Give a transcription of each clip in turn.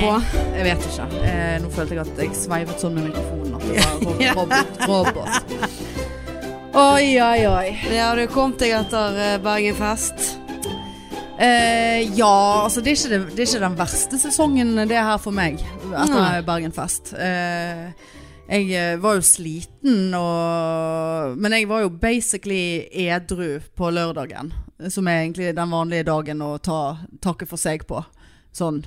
jeg vet ikke. Eh, nå følte jeg at jeg sveivet sånn med mikrofonen at det var robot. robot. Oi, oi, oi. Ja, du kom deg etter eh, Bergen Fest. Eh, ja, altså det er, ikke det, det er ikke den verste sesongen eh, det her for meg etter Nei. Bergenfest. Eh, jeg eh, var jo sliten og Men jeg var jo basically edru på lørdagen. Som er egentlig den vanlige dagen å ta, takke for seg på. Sånn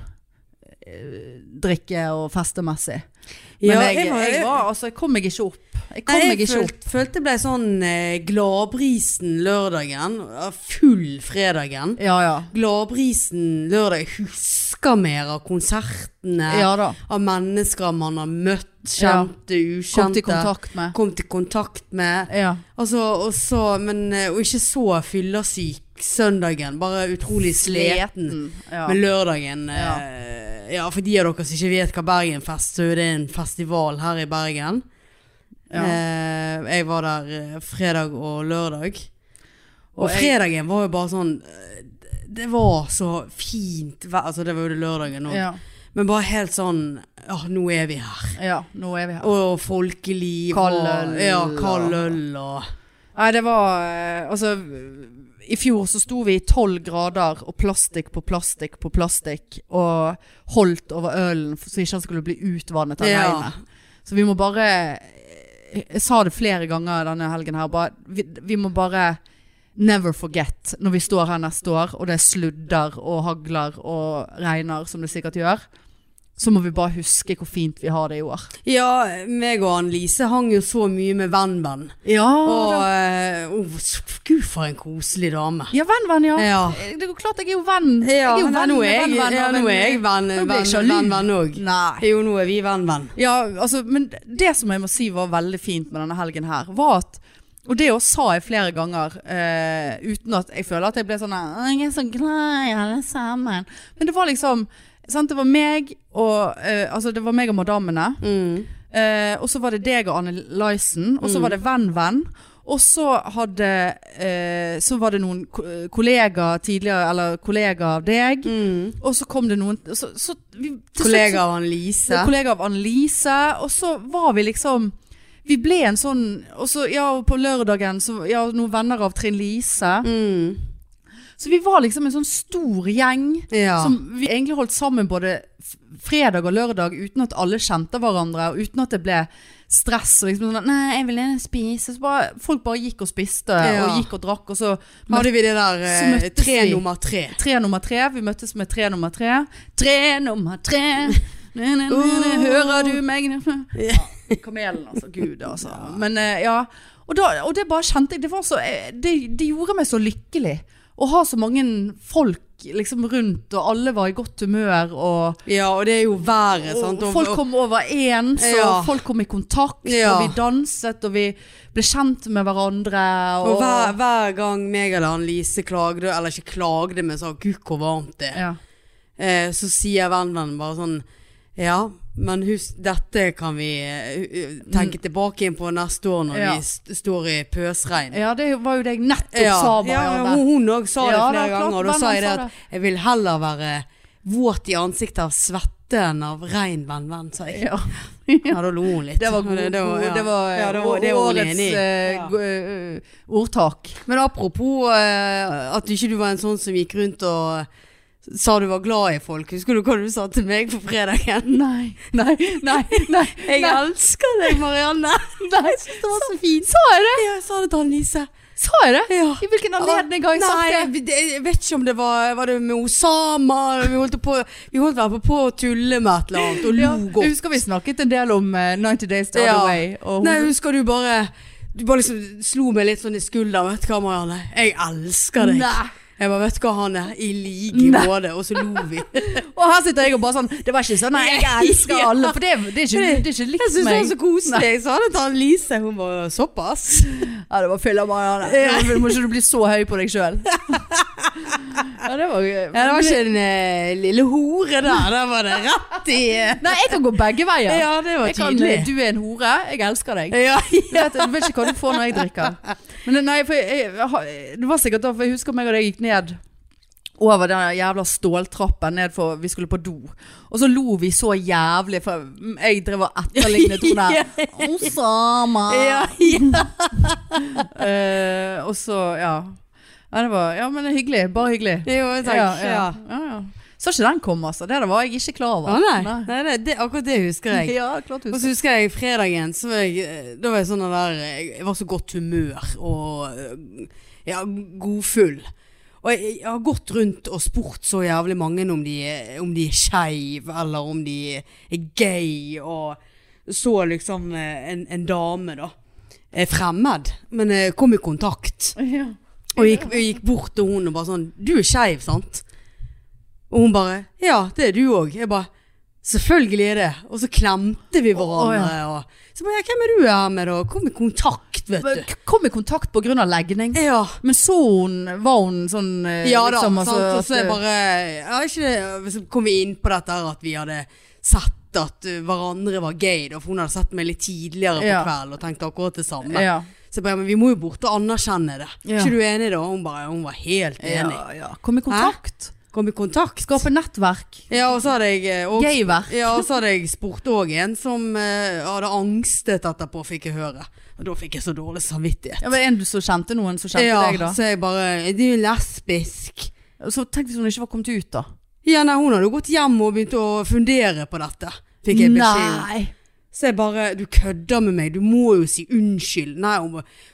eh, drikke- og festemessig. Men Ja, jeg, jeg var- jeg, var Altså, jeg kom meg ikke opp. Jeg kom Nei, meg jeg ikke opp. følte, følte ble sånn eh, gladbrisen lørdagen. eh, Full fredagen. Ja, ja. Gladbrisen lørdag. Jeg husker mer av konsertene. Ja da. Av mennesker man har møtt. Ja. Kjente, ukjente. Kom til kontakt med. Kom til kontakt med. Ja. Altså, og så, men eh, og ikke så fyllesyk søndagen. Bare utrolig sliten. Ja. Men lørdagen Ja. eh, ja, for de av dere som ikke vet hva Bergenfest Så er det en festival her i Bergen Ja. eh, Jeg var der eh, fredag og lørdag Og, Og jeg- fredagen var jo bare sånn eh, Det var så fint vær, Altså det var jo det lørdagen nå ja. Men bare helt sånn Ja, nå er vi her ja. Nå er vi her. Og folkeliv Kald og- øl. Ja, kald øl og Nei, det var eh, Altså, i fjor så sto vi i tolv grader og plastikk på plastikk på plastikk og holdt over ølen for- så ikke han skulle bli utvannet av Ja. regnet. Så vi må bare eh, Jeg sa det flere ganger denne helgen her, bare Vi, vi må bare Never forget når vi står her neste år og det sludder og hagler og regner, som det sikkert gjør. Så må vi bare huske hvor fint vi har det i år. Ja, meg og Annelise hang jo så mye med venn-venn Ja, Og, eh, oh, gud for en koselig dame ja venn, venn, ja. Ja Eh, Det er jo klart jeg er jo venn. Ja, jeg er jo men venn nå med er jeg, venn, venn, ja, venn, nå er jeg venn, Nå venn, blir jeg venn, sjalu. venn òg. Nei. Jo, nå er vi venn, venn. Ja, altså, men det som jeg må si var veldig fint med denne helgen her, var at og det også sa jeg flere ganger, eh, uten at jeg føler at jeg ble sånn «Å, Jeg er så glad i alle sammen. Men det var liksom sant, Det var meg og eh, Altså, det var meg og madammene. Eh, og så var det deg og Anne Lysen, og så var det Venn Venn. Og så hadde eh, Så var det noen ko- kollegaer tidligere, eller kollegaer av deg. Og så kom det noen så, så, vi, til slutt så- Mm. Kollega av og Annelise. kollega av Annelise. Og så var vi liksom Vi ble en sånn Og så, ja, og på lørdagen så Ja, noen venner av Trinn Lise. Mm. Så vi var liksom en sånn stor gjeng. Ja. Som vi egentlig holdt sammen både f- fredag og lørdag uten at alle kjente hverandre, og uten at det ble stress. Og liksom sånn, nei, jeg vil gjerne spise. Så bare, folk bare gikk og spiste, Ja. og gikk og drakk. Og så møtte Hadde vi det der Så eh, møttes tre vi. nummer tre? tre nummer tre. Vi møttes med tre nummer tre. Tre nummer tre. Ne, ne, ne, ne. Hører du meg? Ja, kamelen, altså. Gud, altså. Men eh, ja. Og, da, og det bare kjente jeg Det, var så, eh, det, det gjorde meg så lykkelig å ha så mange folk liksom rundt, og alle var i godt humør. Og, Ja, og det er jo været, sant. og folk kom overens, og Ja. folk kom i kontakt. Ja. Og vi danset, og vi ble kjent med hverandre. og hver, hver gang meg eller Annelise klagde, eller ikke klagde, men sa 'gud, hvor varmt det er', ja. eh, så sier vennen bare sånn 'ja, men husk, dette kan vi eh, tenke tilbake igjen på neste år når Mm. Ja. vi st står i pøsregn'. ja, det var jo det jeg nettopp ja. sa. Bare, ja, Arne. hun- Hun òg sa det Ja, flere det er klart, ganger, og da vennen sa jeg det sa at det. jeg vil heller være våt i ansiktet av svette enn av rein venn, venn, sa jeg. Ja. Ja, da lo hun litt. Det var, god, det, det var, ja. det var, ja, det var, det var hun årets enig i. eh, Ja. go- eh, ordtak. Men apropos eh, at du ikke du var en sånn som gikk rundt og sa du var glad i folk. Husker du hva du sa til meg på fredagen? Nei, nei, nei. nei. Jeg Nei. elsker deg, Marianne. nei. Det var så fint. Sa jeg det? Ja, jeg sa det til Annelise. Sa jeg det? Ja. I hvilken anledning har jeg Nei, sagt det? jeg- jeg, jeg vet ikke om det var Var det med Osama? Vi holdt på, vi holdt vel på å tulle med et eller annet og lo Ja, godt. jeg husker vi snakket en del om eh, 90 Days the Other Ja. Way. Og Nei, husker du bare Du bare liksom slo meg litt sånn i skulderen. Vet du hva, Marianne? Jeg elsker deg. Nei. Jeg bare vet du hva, han er i like Nei. måte. Og så lo vi. Og her sitter jeg og bare sånn Det var ikke sånn Nei, jeg elsker Ja. alle. For det, det, er, ikke, det er ikke Jeg likt synes det var meg. så koselig. Jeg sa det til Annelise. Hun var såpass. Ja, det var fylla, Marianne. Ja. Må ikke du bli så høy på deg sjøl? Ja, det var gøy. Ja, det var ikke en eh, lille hore der. Der var det rett i eh, Nei, jeg kan gå begge veier. Ja, det var Jeg kan, tydelig. du er en hore, jeg elsker deg. Ja, Du vet, du vet ikke hva du får når jeg drikker. Men nei, for jeg, jeg, har- det var sikkert da, for jeg husker meg og deg gikk ned over den jævla ståltrappen ned for Vi skulle på do. Og så lo vi så jævlig, for jeg drev og etterlignet henne der. Osama! Ja, Eh, og så, ja. ja. Det var Ja, men det er hyggelig. Bare hyggelig. Jo, takk. Ja, ja. Ja. Ja, ja. Så ikke den kom, altså. Det der var jeg ikke klar over. Å, nei, nei det, det, akkurat det husker jeg. Ja, klart du Og så husker jeg fredagen, så var jeg, da var jeg sånn der Jeg var så godt humør og eh, ja, godfull. Og jeg, jeg har gått rundt og spurt så jævlig mange om de, eh, om de er skeiv, eller om de er gay, og så liksom eh, en, en dame, da. eh, Fremmed, men eh, kom i kontakt. Ja. Og gikk, og gikk bort til hun og bare sånn Du er skeiv, sant? Og hun bare Ja, det er du òg. Jeg bare Selvfølgelig er det. Og så klemte vi Å, hverandre. Og så bare ja, Hvem er du her med, da? Kom i kontakt, vet Men du. Kom i kontakt på grunn av legning. Ja. Men så hun Var hun sånn eh, Ja da, liksom, sant. Og så er at- bare ja, ikke det, Så kom vi inn på dette her at vi hadde sett at uh, hverandre var gay, da. For hun hadde sett meg litt tidligere på Ja. kvelden og tenkte akkurat det samme. ja. Så jeg bare, men vi må jo bort og anerkjenne det. Ja. Ikke du enig, da? Hun bare Hun var helt enig. ja, ja. Kom i kontakt. Kom i kontakt. Skape nettverk. Ja, og så hadde jeg eh, og, Gayverk. Ja, og så hadde jeg spurt òg en som eh, hadde angstet etterpå, fikk jeg høre. Og da fikk jeg så dårlig samvittighet. Ja, men en du så kjente noen som kjente ja, deg, da. så jeg bare Er du lesbisk? Så tenk hvis hun ikke var kommet ut, da. Ja, nei, hun hadde jo gått hjem og begynt å fundere på dette. Fikk jeg beskjed om. Nei! Så jeg bare Du kødder med meg, du må jo si unnskyld. Nei, hun,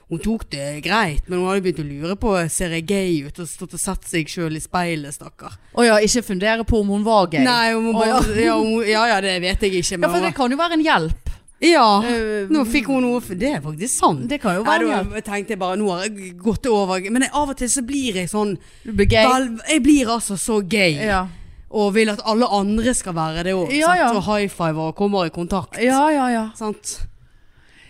hun tok det greit, men hun hadde begynt å lure på ser jeg gay ut, og stått og sett seg sjøl i speilet, stakkar. Å ja, ikke fundere på om hun var gay. Nei, hun Å, bare, ja. ja, hun, ja ja, det vet jeg ikke, Ja, men for det kan jo være en hjelp. Ja, Eh, nå fikk hun noe for Det er faktisk sant. Det kan jo Nei, være en hjelp. da tenkte jeg bare Nå har jeg gått det over. Men jeg, av og til så blir jeg sånn Du blir gay. vel, Jeg blir altså så gay. Ja. Og vil at alle andre skal være det òg. Ja, ja. Og high five og kommer i kontakt. ja, ja, ja. Sant?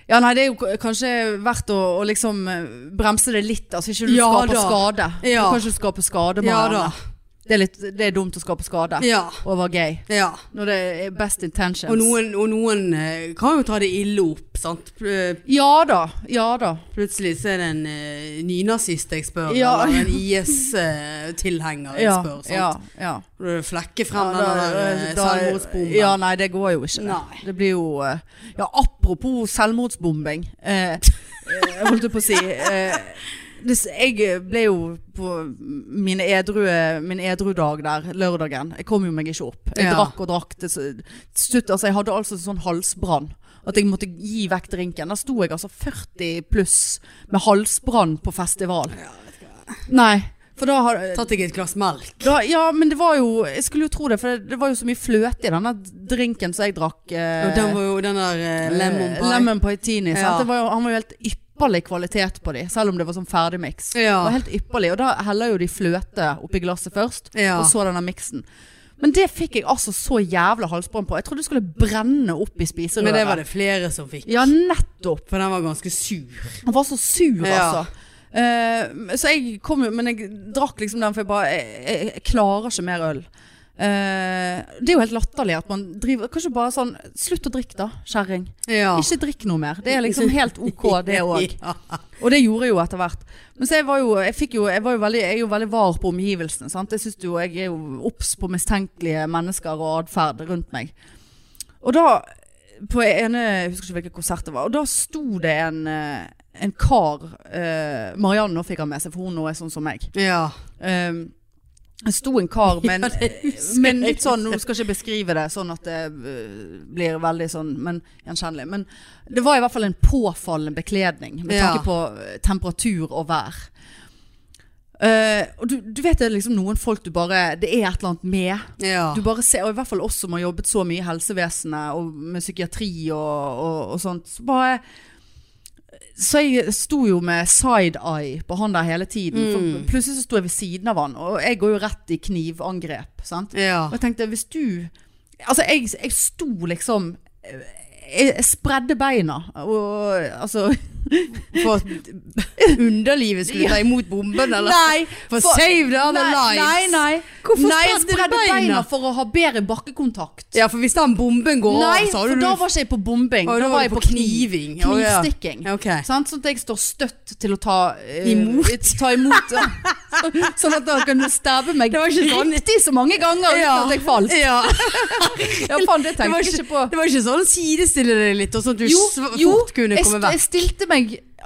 Ja, nei, det er jo k- kanskje verdt å, å liksom eh, bremse det litt, altså ikke du Ja skaper da. skade. Ja. Du kan ikke skape skade med Ja da. hverandre. Det er, litt, det er dumt å skape skade Ja. og være gay. ja. Når det er best intentions. Og noen, og noen eh, kan jo ta det ille opp, sant. Pl- Ja da, ja da. Plutselig så er det en eh, nynazist jeg spør, Ja. eller en IS-tilhenger jeg Ja, spør. Sant? ja, ja. Flekke frem Ja, den der eh, da- selvmordsbomben. Ja, nei, det går jo ikke. Nei. Det blir jo eh, Ja, apropos selvmordsbombing. Eh, eh, holdt jeg på å si. Eh, det, s- jeg ble jo på mine edru, min edru dag der, lørdagen. Jeg kom jo meg ikke opp. Jeg Ja. drakk og drakk. Til s- til slutt, altså, jeg hadde altså sånn halsbrann. At jeg måtte gi vekk drinken. Der sto jeg altså 40 pluss med halsbrann på festival. Nei, for da har Tatt deg et glass melk. da, ja, men det var jo Jeg skulle jo tro det, for det, det var jo så mye fløte i denne drinken som jeg drakk. Eh, Og den var jo den der eh, lemon pie. Lemon pie tini. sant? Ja. Det var jo, han var jo helt ypperlig kvalitet på de, selv om det var sånn ferdigmiks. Det var Ja. helt ypperlig. Og da heller jo de fløte oppi glasset først, Ja. og så denne miksen. Men det fikk jeg altså så jævla halsbrann på. Jeg trodde det skulle brenne opp i spiserøret. Men det var det flere som fikk. Ja, nettopp. For den var ganske sur. Han var så sur, Ja. altså. Eh, så jeg kom jo, men jeg drakk liksom den, for jeg bare Jeg, jeg, jeg klarer ikke mer øl. Eh, det er jo helt latterlig at man driver Kanskje bare sånn Slutt å drikke, da, kjerring. Ja. Ikke drikk noe mer. Det er liksom helt OK, det òg. Ja. Og det gjorde jeg jo etter hvert. Men så jeg var jo, jeg fikk jo, jeg var jo veldig, jeg er jo veldig var på omgivelsene. Sant? Jeg synes jo, jeg er jo obs på mistenkelige mennesker og atferd rundt meg. Og da, på ene, jeg husker ikke hvilken konsert det var, og da sto det en, eh, en kar, eh, Marianne nå fikk han med seg, for hun nå er sånn som meg. ja. Eh, det sto en kar med en, det husker men jeg. litt sånn, nå skal jeg ikke beskrive det sånn at det eh, blir veldig sånn, men gjenkjennelig. Men det var i hvert fall en påfallende bekledning med Ja. tanke på eh, temperatur og vær. Eh, og du, du vet det er liksom noen folk du bare Det er et eller annet med. Ja. Du bare ser, og i hvert fall oss som har jobbet så mye i helsevesenet og med psykiatri og, og, og sånt. Så bare Så jeg sto jo med side-eye på han der hele tiden. For plutselig så sto jeg ved siden av han, og jeg går jo rett i knivangrep. Sant? ja. Og jeg tenkte, hvis du Altså, jeg, jeg sto liksom jeg, jeg spredde beina, og altså For at underlivet skulle ta imot bomben, eller? Nei! For save the other nei, lives. Nei, nei. Hvorfor Nei, jeg spredde du spredde beina? beina for å ha bedre bakkekontakt. Ja, for hvis den bomben går Nei, av, så for har du da var ikke jeg på bombing. Å, Da var jeg på kniv. kniving. Å, ja. Knivstikking. Ja, ok. Sant? Sånn at jeg står støtt til å ta eh, Imot. Ta imot ja. Sånn at dere kan stabbe meg Det var ikke sånn- riktig så mange ganger uten Ja. at jeg falt. Ja. Ja, faen, det Det, tenkte var jeg ikke, ikke på. det var ikke sånn sidestille deg litt, og sånn at du sv- fort kunne jeg, st- komme vekk. jeg stilte meg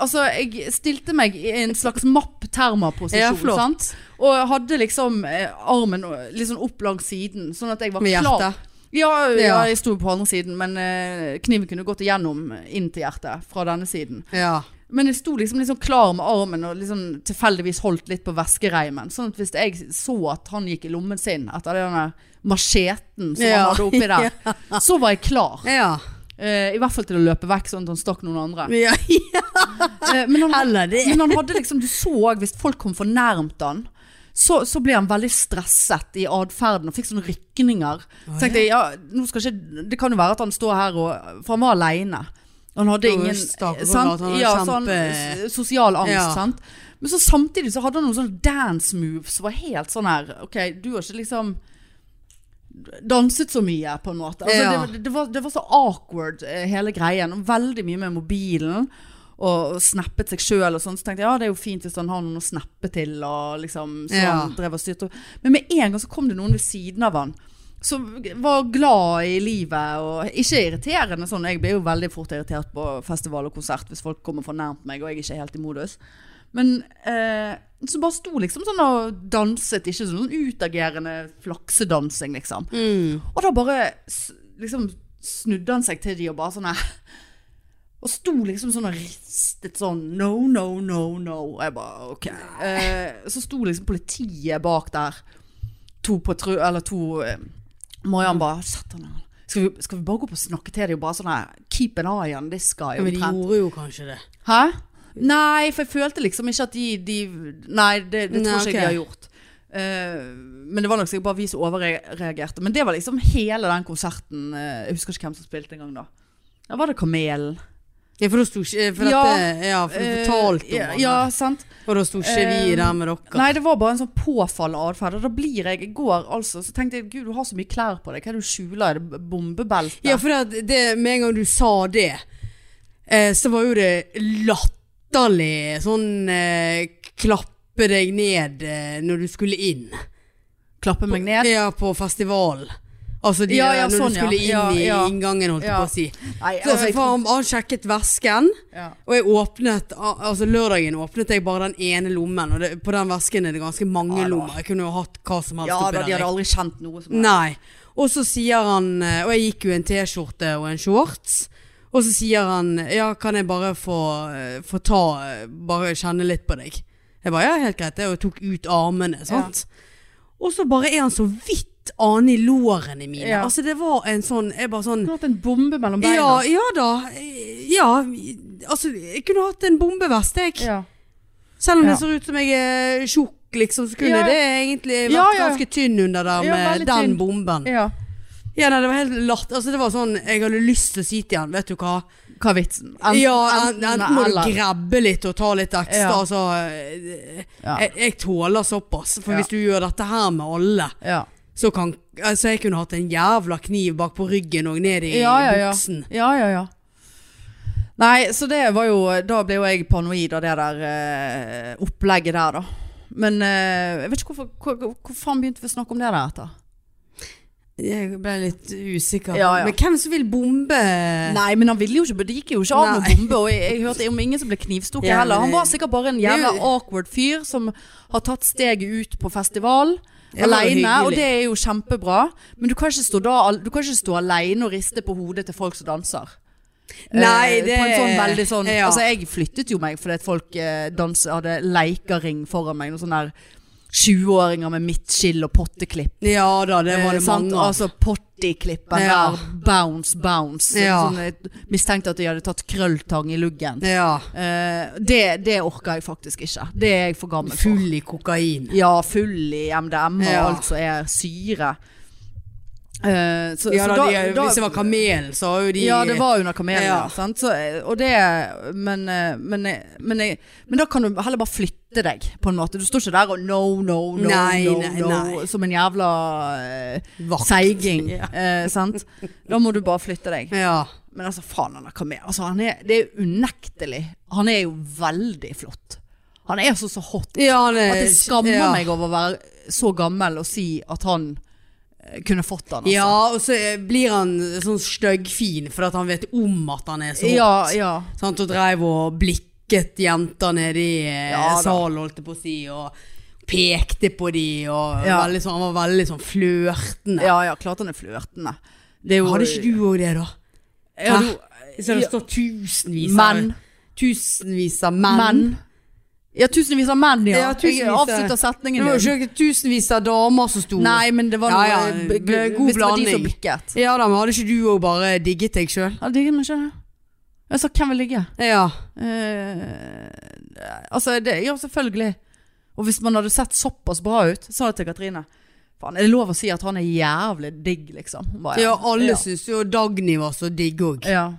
Altså, jeg stilte meg i en slags mapp-termaposisjon, Ja, flott. sant? Og jeg hadde liksom eh, armen eh, litt sånn opp langs siden, sånn at jeg var Med klar. hjertet. Ja, øh, ja, Ja. jeg sto på andre siden, men eh, kniven kunne gått igjennom øh, inn til hjertet fra denne siden. Ja. Men jeg sto liksom litt sånn klar med armen og liksom tilfeldigvis holdt litt på veskereimen. Sånn at hvis jeg så at han gikk i lommen sin etter den der macheten som han Ja. hadde oppi der, så var jeg klar. Ja. Eh, I hvert fall til å løpe vekk sånn at han stakk noen andre. ja. Eh, men, han, Eller det. men han hadde liksom, du så òg hvis folk kom for nærmt han. Så, så ble han veldig stresset i atferden og fikk sånne rykninger. Så tenkte jeg, ja, nå skal ikke, Det kan jo være at han står her og For han var aleine. Han hadde Ja, ingen stakkars at sant? han hadde Ja, så han- kjempe- s- Sosial angst, Ja. sant. Men så samtidig så hadde han noen sånne dance moves som var helt sånn her OK, du har ikke liksom danset så mye, på en måte. Altså, Ja. det, var- det, var, det var så awkward, eh, hele greien. Og veldig mye med mobilen. Og, og snappet seg sjøl og sånn. Så tenkte jeg ja, det er jo fint hvis han har noen å snappe til. Og liksom, så Ja. han drev og styrte. Men med en gang så kom det noen ved siden av han. Som var glad i livet og ikke irriterende sånn. Jeg blir jo veldig fort irritert på festival og konsert hvis folk kommer for nærmt meg og jeg er ikke helt i modus. Men eh, så bare sto liksom sånn og danset, ikke sånn utagerende flaksedansing, liksom. Mm. Og da bare s- liksom snudde han seg til de og bare sånn her Og sto liksom sånn og ristet sånn No, no, no, no. Og jeg bare OK. Eh, så sto liksom politiet bak der. To patru... Eller to eh, Mariann bare Sett han her. Skal vi, skal vi bare gå opp og snakke til dem og bare sånn her Keep an eye on this guy. Men de omtrent. gjorde jo kanskje det. Hæ? Nei, for jeg følte liksom ikke at de, de Nei, det, det tror Nei, ikke ok. jeg de har gjort. Eh, men det var nok sikkert bare vi som overreagerte. Men det var liksom hele den konserten. eh, jeg husker ikke hvem som spilte engang da. Ja, var det Kamelen? Ja, for da sto ikke For Ja. dette Ja, for du Eh, fortalte om ja, han. ja, sant. Og da sto ikke vi Eh, der med dere. Nei, det var bare en sånn påfallende atferd. Og da blir jeg I går altså, så tenkte jeg gud, du har så mye klær på deg. Hva er det du skjuler? Er det bombebelte? Ja, for det, det, med en gang du sa det, eh, så var jo det latterlig sånn eh, Klappe deg ned eh, når du skulle inn. Klappe meg ned? Ja, på festival. Altså de, Ja, ja, når sånn, du ja. skulle inn Ja, i ja. inngangen, holdt jeg Ja. på å si. Nei, Så, altså, jeg for tror han, han sjekket vesken. ja. Og jeg åpnet, al- altså lørdagen åpnet jeg bare den ene lommen, og det, på den vesken er det ganske mange Ja, da. lommer. Jeg kunne jo hatt hva som helst ja da, oppi de der. hadde jeg. aldri kjent noe som Nei. Og så sier han, eh, og jeg gikk jo i en t-skjorte og en shorts, og så sier han, ja, kan jeg bare få, eh, få ta, eh, bare kjenne litt på deg? Jeg bare, ja, helt greit, det, og tok ut armene, sant? Og så bare er han så vidt annen i lårene mine. Ja. Altså det var en sånn, jeg bare sånn, Du har hatt en bombe mellom beina. ja, ja da. Ja, altså jeg kunne hatt en bombevest, jeg. Ja. Selv om Ja. det ser ut som jeg er tjukk, liksom, så kunne Ja. det egentlig vært Ja, ja. ganske tynn under der Ja, med veldig den tynn. bomben. ja. Ja, nei, det var helt latt. Altså, det var sånn Jeg hadde lyst til å si til han, vet du hå? Hva er vitsen? ja, enten, enten må eller. du grabbe litt og ta litt ekstra, Ja. altså eh, Ja. jeg, jeg tåler såpass, for Ja. hvis du gjør dette her med alle, Ja. så kan Altså, jeg kunne hatt en jævla kniv bak på ryggen og ned i Ja, ja, ja. buksen. ja, ja, ja. Nei, så det var jo Da ble jo jeg paranoid av det der eh, opplegget der, da. Men eh, jeg vet ikke hvorfor hvor, hvor- hvor faen begynte vi å snakke om det der etter? Jeg ble litt usikker. Ja, ja. Men hvem som vil bombe? Eh. Nei, men han ville jo ikke Det gikk jo ikke av med Nei. bombe, og jeg, jeg hørte om ingen som ble knivstukket Ja, men heller. Han det- var sikkert bare en er jo- jævla awkward fyr som har tatt steget ut på festival. Ja, det var jo Alene, og hyggelig. det er jo kjempebra, men du kan ikke stå, da, al- du kan ikke stå alene og riste på hodet til folk som danser. Nei, Eh, det- På en sånn veldig sånn ja. Altså jeg flyttet jo meg fordi at folk eh, dans, hadde leikering foran meg. Noen sånne der 20-åringer med midtskill og potteklipp. Ja da, det var Eh, det sant? mange av. Altså pottiklippen Ja. der. Bounce, bounce. Ja. Sånn, jeg mistenkte at de hadde tatt krølltang i luggen. Ja. Eh, det, det orker jeg faktisk ikke. Det er jeg for gammel for. Full i kokain. Ja, full i MDMA og Ja. alt som er syre. Eh, så, Ja, så da, da, de, da, hvis det var kamelen, så har jo de ja, det var under kamelen, Ja. ja. sant? Så, eh, og det, men, eh, men, eh, men, jeg- men da kan du heller bare flytte deg, på en måte. Du står ikke der og no, no, no, Nei, no, nei, no, nei. som en jævla eh, vakt. seiging. Ja. Eh, sant? Da må du bare flytte deg. Ja. Men altså, faen, han er kamel. Altså, han er, det er jo unektelig. Han er jo veldig flott. Han er altså så hot ja det, at jeg skammer ja. meg over å være så gammel og si at han eh, kunne fått han. Altså. Ja, og så eh, blir han sånn styggfin fordi at han vet om at han er så hot. ja, ja. Sant, og dreiv og blikket jenter nede i ja, Ja da. salen, holdt jeg på å si, og pekte på de, og Ja. veldig sånn, han var veldig sånn flørtende. Ja, ja, klart han er flørtende. Det er jo Hadde ikke du òg det, da? Ja, Hæ? du- Så det ja. står tusenvis av menn? Tusenvis av menn. Menn? Ja, tusenvis av menn, ja. Ja, tusenvis jeg av- avslutter Det setningen var din. jo ikke tusenvis av damer som sto Nei, men det var noe Ja, ja, b- b- god hvis det var de som blanding. bikket. Ja da, men hadde ikke du òg bare digget deg sjøl? Ja, digger meg ikke. Jeg sa hvem vil ligge? Ja. Eh, altså, det, ja, selvfølgelig. Og hvis man hadde sett såpass bra ut, sa jeg til Katrine Faen, er det lov å si at han er jævlig digg, liksom? Hun bare, ja, alle ja. syntes jo Dagny var så digg òg. ja.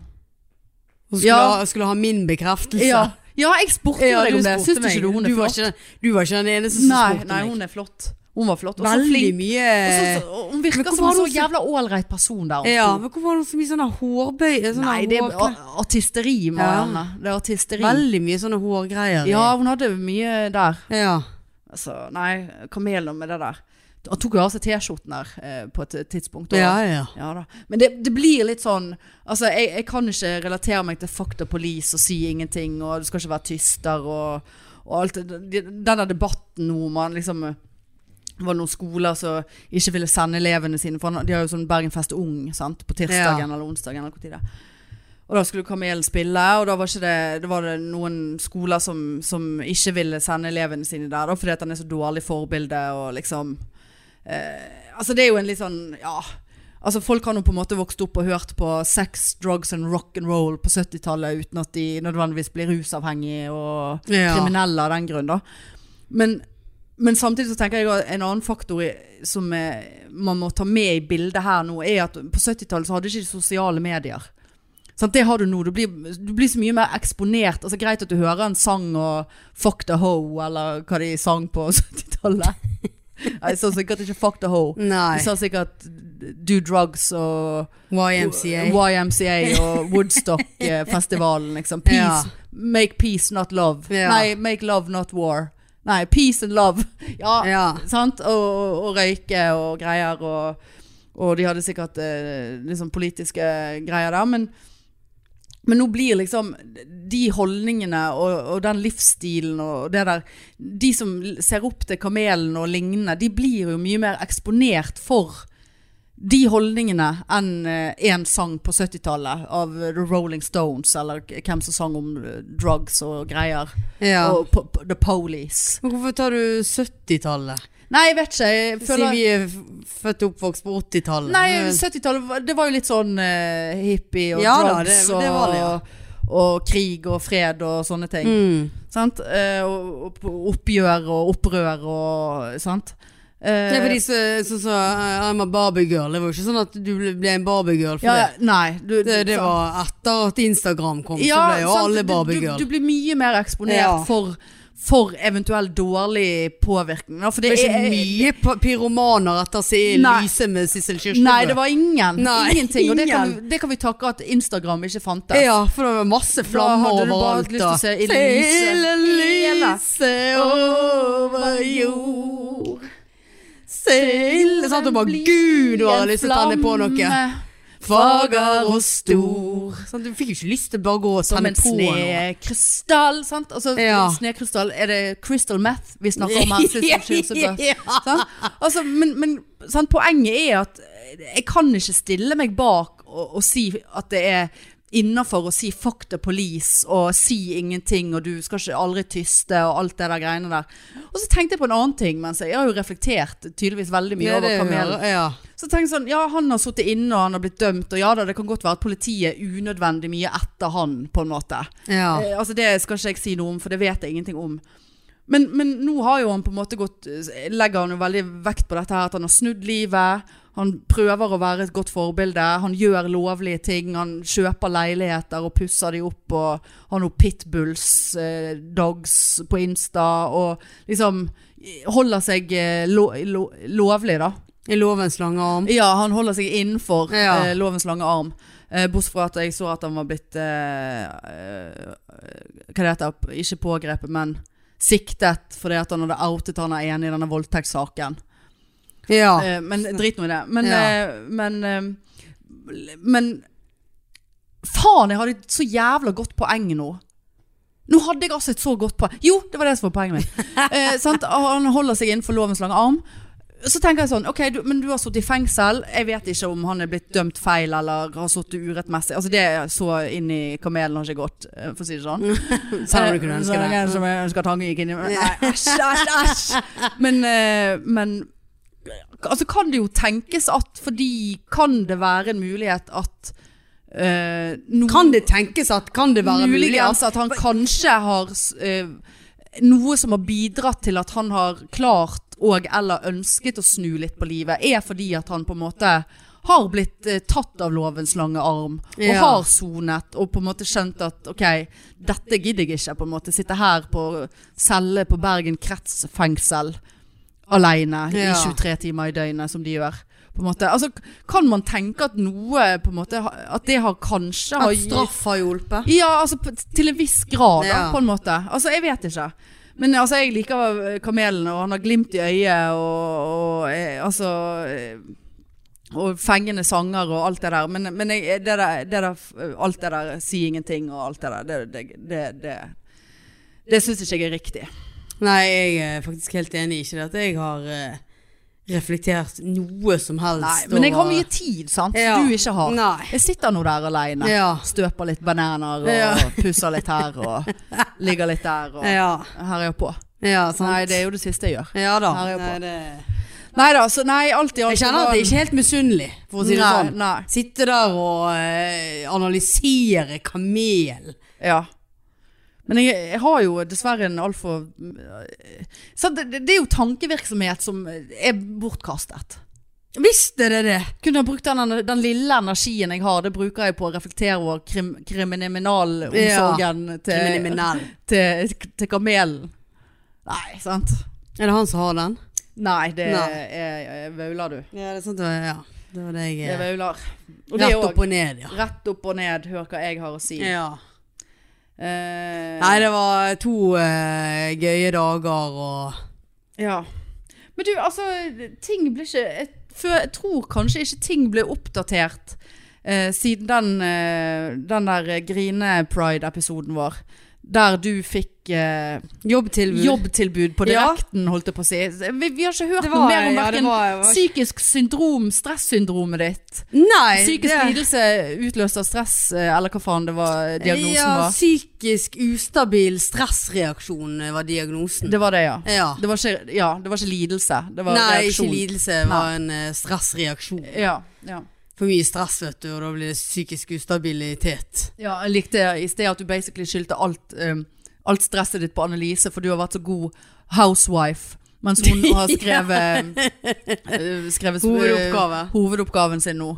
Hun skulle, Ja. ha, skulle ha min bekreftelse. ja. ja, jeg spurte jo Ja, deg du om det. spurte Syns du meg. ikke du hun du er var flott? ikke, du var ikke den eneste som Nei, spurte nei, meg. hun er flott. Hun var flott. Og så Veldig flink. mye Og så- så- og Hun Men virker hvorfor som en har så hun så- jævla ålreit person der. hun Ja, sto. men hvorfor har hun så mye sånne hårbøy sånne Nei, det er hårkle- a- artisteri, Marianne. Det er artisteri. Veldig mye sånne hårgreier. i- Ja, hun hadde mye der. ja. Altså, nei, kamelen med det der. Han tok jo av seg T-skjorten der eh, på et tidspunkt. og- ja, ja. Ja da. Men det, det blir litt sånn Altså, jeg, jeg kan ikke relatere meg til fakta police og si ingenting, og du skal ikke være tyster og, og alt det. Den- Denne debatten nå om man liksom det var noen skoler som ikke ville sende elevene sine For han- de har jo sånn Bergenfest Ung sant? på tirsdagen Ja. eller onsdagen. Eller hvor tid det er. og da skulle Kamelen spille, og da var, ikke det, det var det noen skoler som, som ikke ville sende elevene sine der da, fordi at han er så dårlig forbilde og liksom eh, Altså, det er jo en litt sånn Ja. Altså Folk har nå på en måte vokst opp og hørt på sex, drugs and rock and roll på 70-tallet uten at de nødvendigvis blir rusavhengige og Ja. kriminelle av den grunn. da. Men, men samtidig så tenker jeg at en annen faktor i- som eh, man må ta med i bildet her nå, er at på 70-tallet så hadde ikke de sosiale medier. Sant, det har du nå. Du blir, du blir så mye mer eksponert. Altså Greit at du hører en sang og 'fuck the hoe', eller hva de sang på 70-tallet. Jeg sa sikkert ikke 'fuck the hoe'. Nei. De sa sikkert Do Drugs og YMCA. YMCA og Woodstock-festivalen. Liksom. Peace, Ja. Make peace, not love. Ja. Nei, make love, not war. Nei, peace and love. Ja, Ja. sant? Og, og, og røyke og greier. Og, og de hadde sikkert eh, liksom politiske greier der. Men, men nå blir liksom de holdningene og, og den livsstilen og det der De som l- ser opp til kamelen og lignende, de blir jo mye mer eksponert for de holdningene enn én sang på 70-tallet av eh, The Rolling Stones, eller k- hvem som sang om eh, drugs og greier. ja. Og po po The Police. Men hvorfor tar du 70-tallet? Nei, jeg vet ikke. Jeg Si føler vi er f- født og oppvokst på 80-tallet. Nei, 70-tallet var- det var jo litt sånn eh, hippie og Ja da, drugs det- det var det, ja. og, og krig og fred og sånne ting. Mm. Sant? Eh, og opp- oppgjør og opprør og sant. Eh, Nei, fordi så, så, så, eh, I'm a Barbie girl. Det var jo ikke sånn at du ble ble en Barbie girl for ja, ja, nei, du, det. Det, det var etter at Instagram kom, så ble jo sant, alle du- Barbie du, girl. du blir mye mer eksponert Ja. for, for eventuell dårlig påvirkning. da, For det det, er ikke er, mye pa- pyromaner etter å se eh, Nei. lyse med Sissel Kyrkjebø. Nei, det var ingen. Nei, Ingenting. Og det kan, ingen. vi- det kan vi takke at Instagram ikke fantes. Ja, for det var masse Da flammer hadde du bare overalt. lyst til å se i Seile lyset. lyse over jord. Seil Sant, og bare Gud, du har lyst til å tenne på noe. Fager og stor. Sant, du fikk jo ikke lyst til bare å gå og Som tenne en på noe. snekrystall, sant? Altså, Ja. snekrystall, er det crystal meth vi snakker om her? Sissel Kyrkjebø? Ja. sant? Altså, men men sant? poenget er at jeg kan ikke stille meg bak og, og si at det er innafor å si 'fuck the police' og si ingenting og du skal ikke aldri tyste og alt det der greiene der. Og så tenkte jeg på en annen ting, mens jeg, jeg har jo reflektert tydeligvis veldig mye Ja, det over kamelen. hører- ja. Så tenk sånn, ja han har suttet inne og han har blitt dømt, og ja da, det kan godt være at politiet er unødvendig mye etter han, på en måte. Ja. Eh, altså det skal ikke jeg si noe om, for det vet jeg ingenting om. Men, men nå har jo han på en måte gått, eh, legger han jo veldig vekt på dette her, at han har snudd livet, Han prøver å være et godt forbilde. Han gjør lovlige ting. Han kjøper leiligheter og pusser de opp. Og har noen pitbulls, eh, dogs på Insta. Og liksom holder seg eh, lo, lo, lovlig, da. I lovens lange arm. Ja, han holder seg innenfor Ja. eh, lovens lange arm. Eh, bortsett fra at jeg så at han var blitt eh, eh, Hva det heter Ikke pågrepet, men siktet fordi at han hadde outet han er enig i denne voldtektssaken. Ja. Eh, men drit nå i det. Men, Ja. eh, men, eh, men Faen, jeg hadde et så jævla godt poeng nå. Nå hadde jeg altså et så godt poeng. Jo, det var det som var poenget mitt. Eh, sant? Han holder seg innenfor lovens lange arm. Så tenker jeg sånn, ok, du, men du har sittet i fengsel. Jeg vet ikke om han er blitt dømt feil eller har sittet urettmessig. Altså det er så inn i kamelen har ikke gått, eh, for å si det sånn. Selv om du kunne ønske Så det. er det. Som jeg ønsker at han gikk inn i Nei, æsj, æsj, æsj. Men, eh, men altså, kan det jo tenkes at Fordi kan det være en mulighet at eh, noen- Kan det tenkes at Kan det være mulig at Muligens altså, at han kanskje har eh, noe som har bidratt til at han har klart og eller ønsket å snu litt på livet, er fordi at han på en måte har blitt eh, tatt av lovens lange arm, og Ja. har sonet, og på en måte skjønt at ok, dette gidder jeg ikke, på en måte. Sitte her på celle på Bergen kretsfengsel alene Ja. i 23 timer i døgnet, som de gjør. På en måte. Altså, kan man tenke at noe på en måte, ha- At det har kanskje har At gi- straff har hjulpet? ja, altså p- til en viss grad, da, Ja. på en måte. Altså, jeg vet ikke. Men altså, jeg liker eh, kamelen, og han har glimt i øyet, og, og eh, altså eh, Og fengende sanger og alt det der. Men, men jeg, eh, det der, det der, f- alt det der eh, si ingenting og alt det der, det, det, det, det, det syns ikke jeg er riktig. Nei, jeg er faktisk helt enig. Ikke det at jeg har eh, reflektert noe som helst. Nei, men jeg har over- mye tid, sant, Ja. du ikke har. Nei. Jeg sitter nå der aleine. Ja. Støper litt bananer og Ja. pusser litt her og ligger litt der og Ja. Her er jeg på. ja sant. Nei, det er jo det siste jeg gjør. Ja da. Her er jeg på. Nei, det... Nei da, så nei, alt i alt Jeg kjenner at jeg ikke er helt misunnelig, for å si det nei, sånn. Nei, Sitte der og eh, analysere kamel. ja. Men jeg, jeg har jo dessverre en altfor Så det, det det er jo tankevirksomhet som er bortkastet. Visst er det det. Kunne ha brukt den, den lille energien jeg har, det bruker jeg på å reflektere over krim, kriminalomsorgen til, Kriminell. til, til kamelen. Nei, sant? Er det han som har den? Nei, det Nei. er er vauler, du. Ja, det er sant. Det var, ja. det, var det jeg Det er eh, vauler. Og det Rett òg. opp og ned, ja. Rett opp og ned, hør hva jeg har å si. ja. Eh, Nei, det var to eh, gøye dager og Ja. Men du, altså, ting ble ikke Jeg, fø- jeg tror kanskje ikke ting ble oppdatert eh, siden den, eh, den der Grine-pride-episoden vår. Der du fikk eh, jobbtilbud. jobbtilbud på Ja. direkten, holdt jeg på å si. Vi, vi har ikke hørt Det noe var, mer om ja, det hverken var, psykisk syndrom, stressyndromet ditt. Nei, Psykisk lidelse utløst av stress, eh, eller hva faen det var diagnosen ja, var. Psykisk ustabil stressreaksjon eh, var diagnosen. Det var det, ja. ja. Det var ikke, ja, det var ikke lidelse. Det var Nei, reaksjon. ikke lidelse. Det var en eh, stressreaksjon. Ja, ja. For mye stress, vet du, og da blir det psykisk ustabilitet. Ja, jeg likte i sted at du basically skyldte alt, um, alt stresset ditt på Annelise, for du har vært så god housewife. Mens hun har skrevet, eh, skrevet eh, Hovedoppgave. hovedoppgaven sin nå.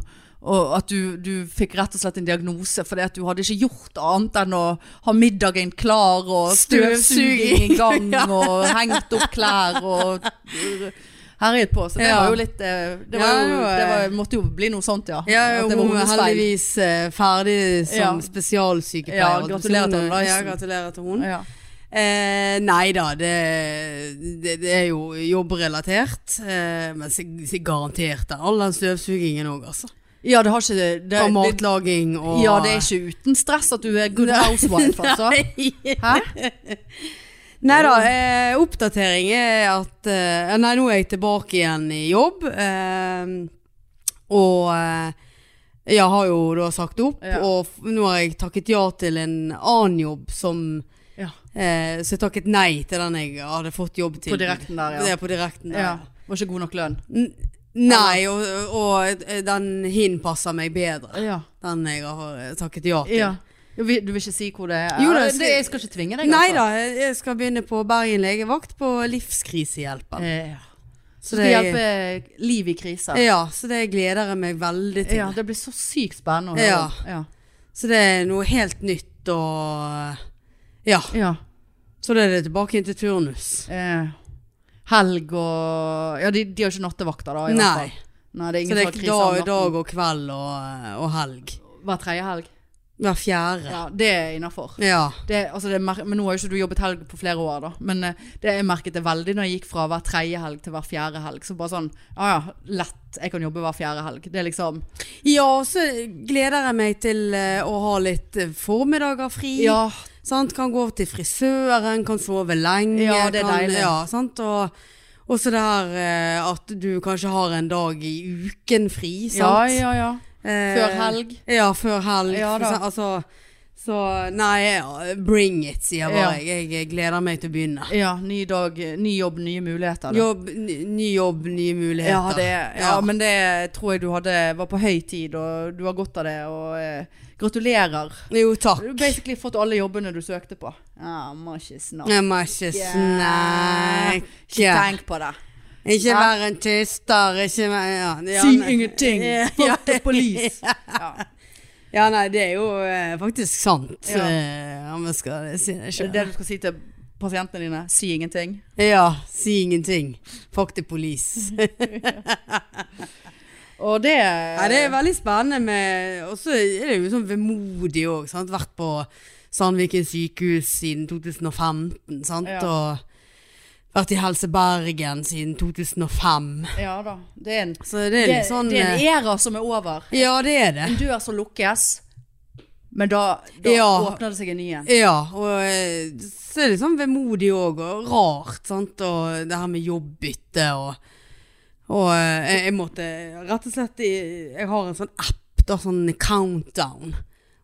Og at du, du fikk rett og slett en diagnose fordi at du hadde ikke gjort annet enn å ha middagen klar og støvsuging i gang og hengt opp klær og uh, herjet på. Så det Ja. var jo litt eh, Det, var Ja, jo, det var- det var, måtte jo bli noe sånt, ja. Ja, At det var hun er hennes feil. heldigvis eh, ferdig som Ja. spesialsykepleier. Ja, holdt jeg på å si. gratulerer til Hun- Reisen. Ja, gratulerer til hun. Ja. Eh, nei da, det, det, det er jo jobbrelatert. Eh, men sig- sig- garantert er all den støvsugingen òg, altså. Ja, det har ikke det, det, Og det matlaging og Ja, det er ikke uten stress at du er good housewife, altså. Nei. Hæ? Nei da, eh, oppdatering er at eh, Nei, nå er jeg tilbake igjen i jobb. Eh, og eh, jeg har jo da sagt opp, Ja. og f nå har jeg takket ja til en annen jobb som Ja. eh, Så jeg takket nei til den jeg hadde fått jobb til. På direkten der, Det ja. er på direkten der. ja. Var ikke god nok lønn. N- Nei, og, og eh, den hin passer meg bedre. Ja. Den jeg har eh, takket ja til. ja. Du vil du vil ikke si hvor det er? Jo da, Ja, skal- det, jeg skal ikke tvinge deg. Nei altså. da, jeg skal begynne på Bergen legevakt på livskrisehjelpen. Eh, ja. Så skal hjelpe liv i kriser. Ja, så det gleder jeg meg veldig til. Ja, det blir så sykt spennende. å høre Ja. om. Ja. Så det er noe helt nytt og Ja. ja. Så da er det tilbake inn til turnus. Eh, helg og Ja, de, de har ikke nattevakter, da. I Nei. Hvert fall. Nei, det er Så ingen det som har er krise dag, om dag natten. og kveld og, og helg. Hver tredje helg. Hver fjerde. Ja, det er innafor. Ja. Det, altså det er mer, men nå har jo ikke du jobbet helg på flere år, da. Men eh, det jeg merket det veldig når jeg gikk fra hver tredje helg til hver fjerde helg. Så bare sånn Ja ja, lett. Jeg kan jobbe hver fjerde helg. Det er liksom Ja, og så gleder jeg meg til eh, å ha litt eh, formiddager fri. Ja. Sant? Kan gå til frisøren, kan sove lenge. Ja, det er kan, deilig. Ja, sant? Og, og så det her eh, at du kanskje har en dag i uken fri, Ja, sant? ja, ja. Eh, Før helg. Ja, før helg. Ja, da. for eksempel, altså, så nei, ja, bring it, sier jeg bare. Jeg, jeg gleder meg til å begynne. Ja, ny dag, eh, ny jobb, nye muligheter. da. Jobb, ny, ny jobb, nye Ja, muligheter. det, ja, Ja. men det tror jeg du hadde var på høy tid, og du har godt av det. Og eh, gratulerer. Jo, takk. Du har basically fått alle jobbene du søkte på. Ja, må ikke snakke. Jeg må ikke Ja. Ikke snakke. tenk på det. Ikke Ja. være en tyster. Ikke være ja, ja, Si nei. ingenting. Ja. Fuck the police. Ja. Ja, nei, det er jo eh, faktisk sant. Ja. eh, Om jeg skal si det Det er sjøl. det du skal si til pasientene dine. Si ingenting. Ja, si ingenting. Fuck the police. Og det Ja, det er veldig spennende med Og så er det jo sånn vemodig òg, sant. Vært på Sandviken sykehus siden 2015, sant. Ja. Og vært i Helse Bergen siden 2005. Ja da. Det er en, Så det det, er litt sånn det er eh, en e- æra som er over. Ja, det er det. En dør som lukkes, men da, da Ja. åpner det seg en ny en. Ja, og eh, så er det sånn vemodig òg, og rart, sant. Og det her med jobbbytte og Og eh, jeg, jeg måtte rett og slett i- Jeg har en sånn app, da, sånn countdown.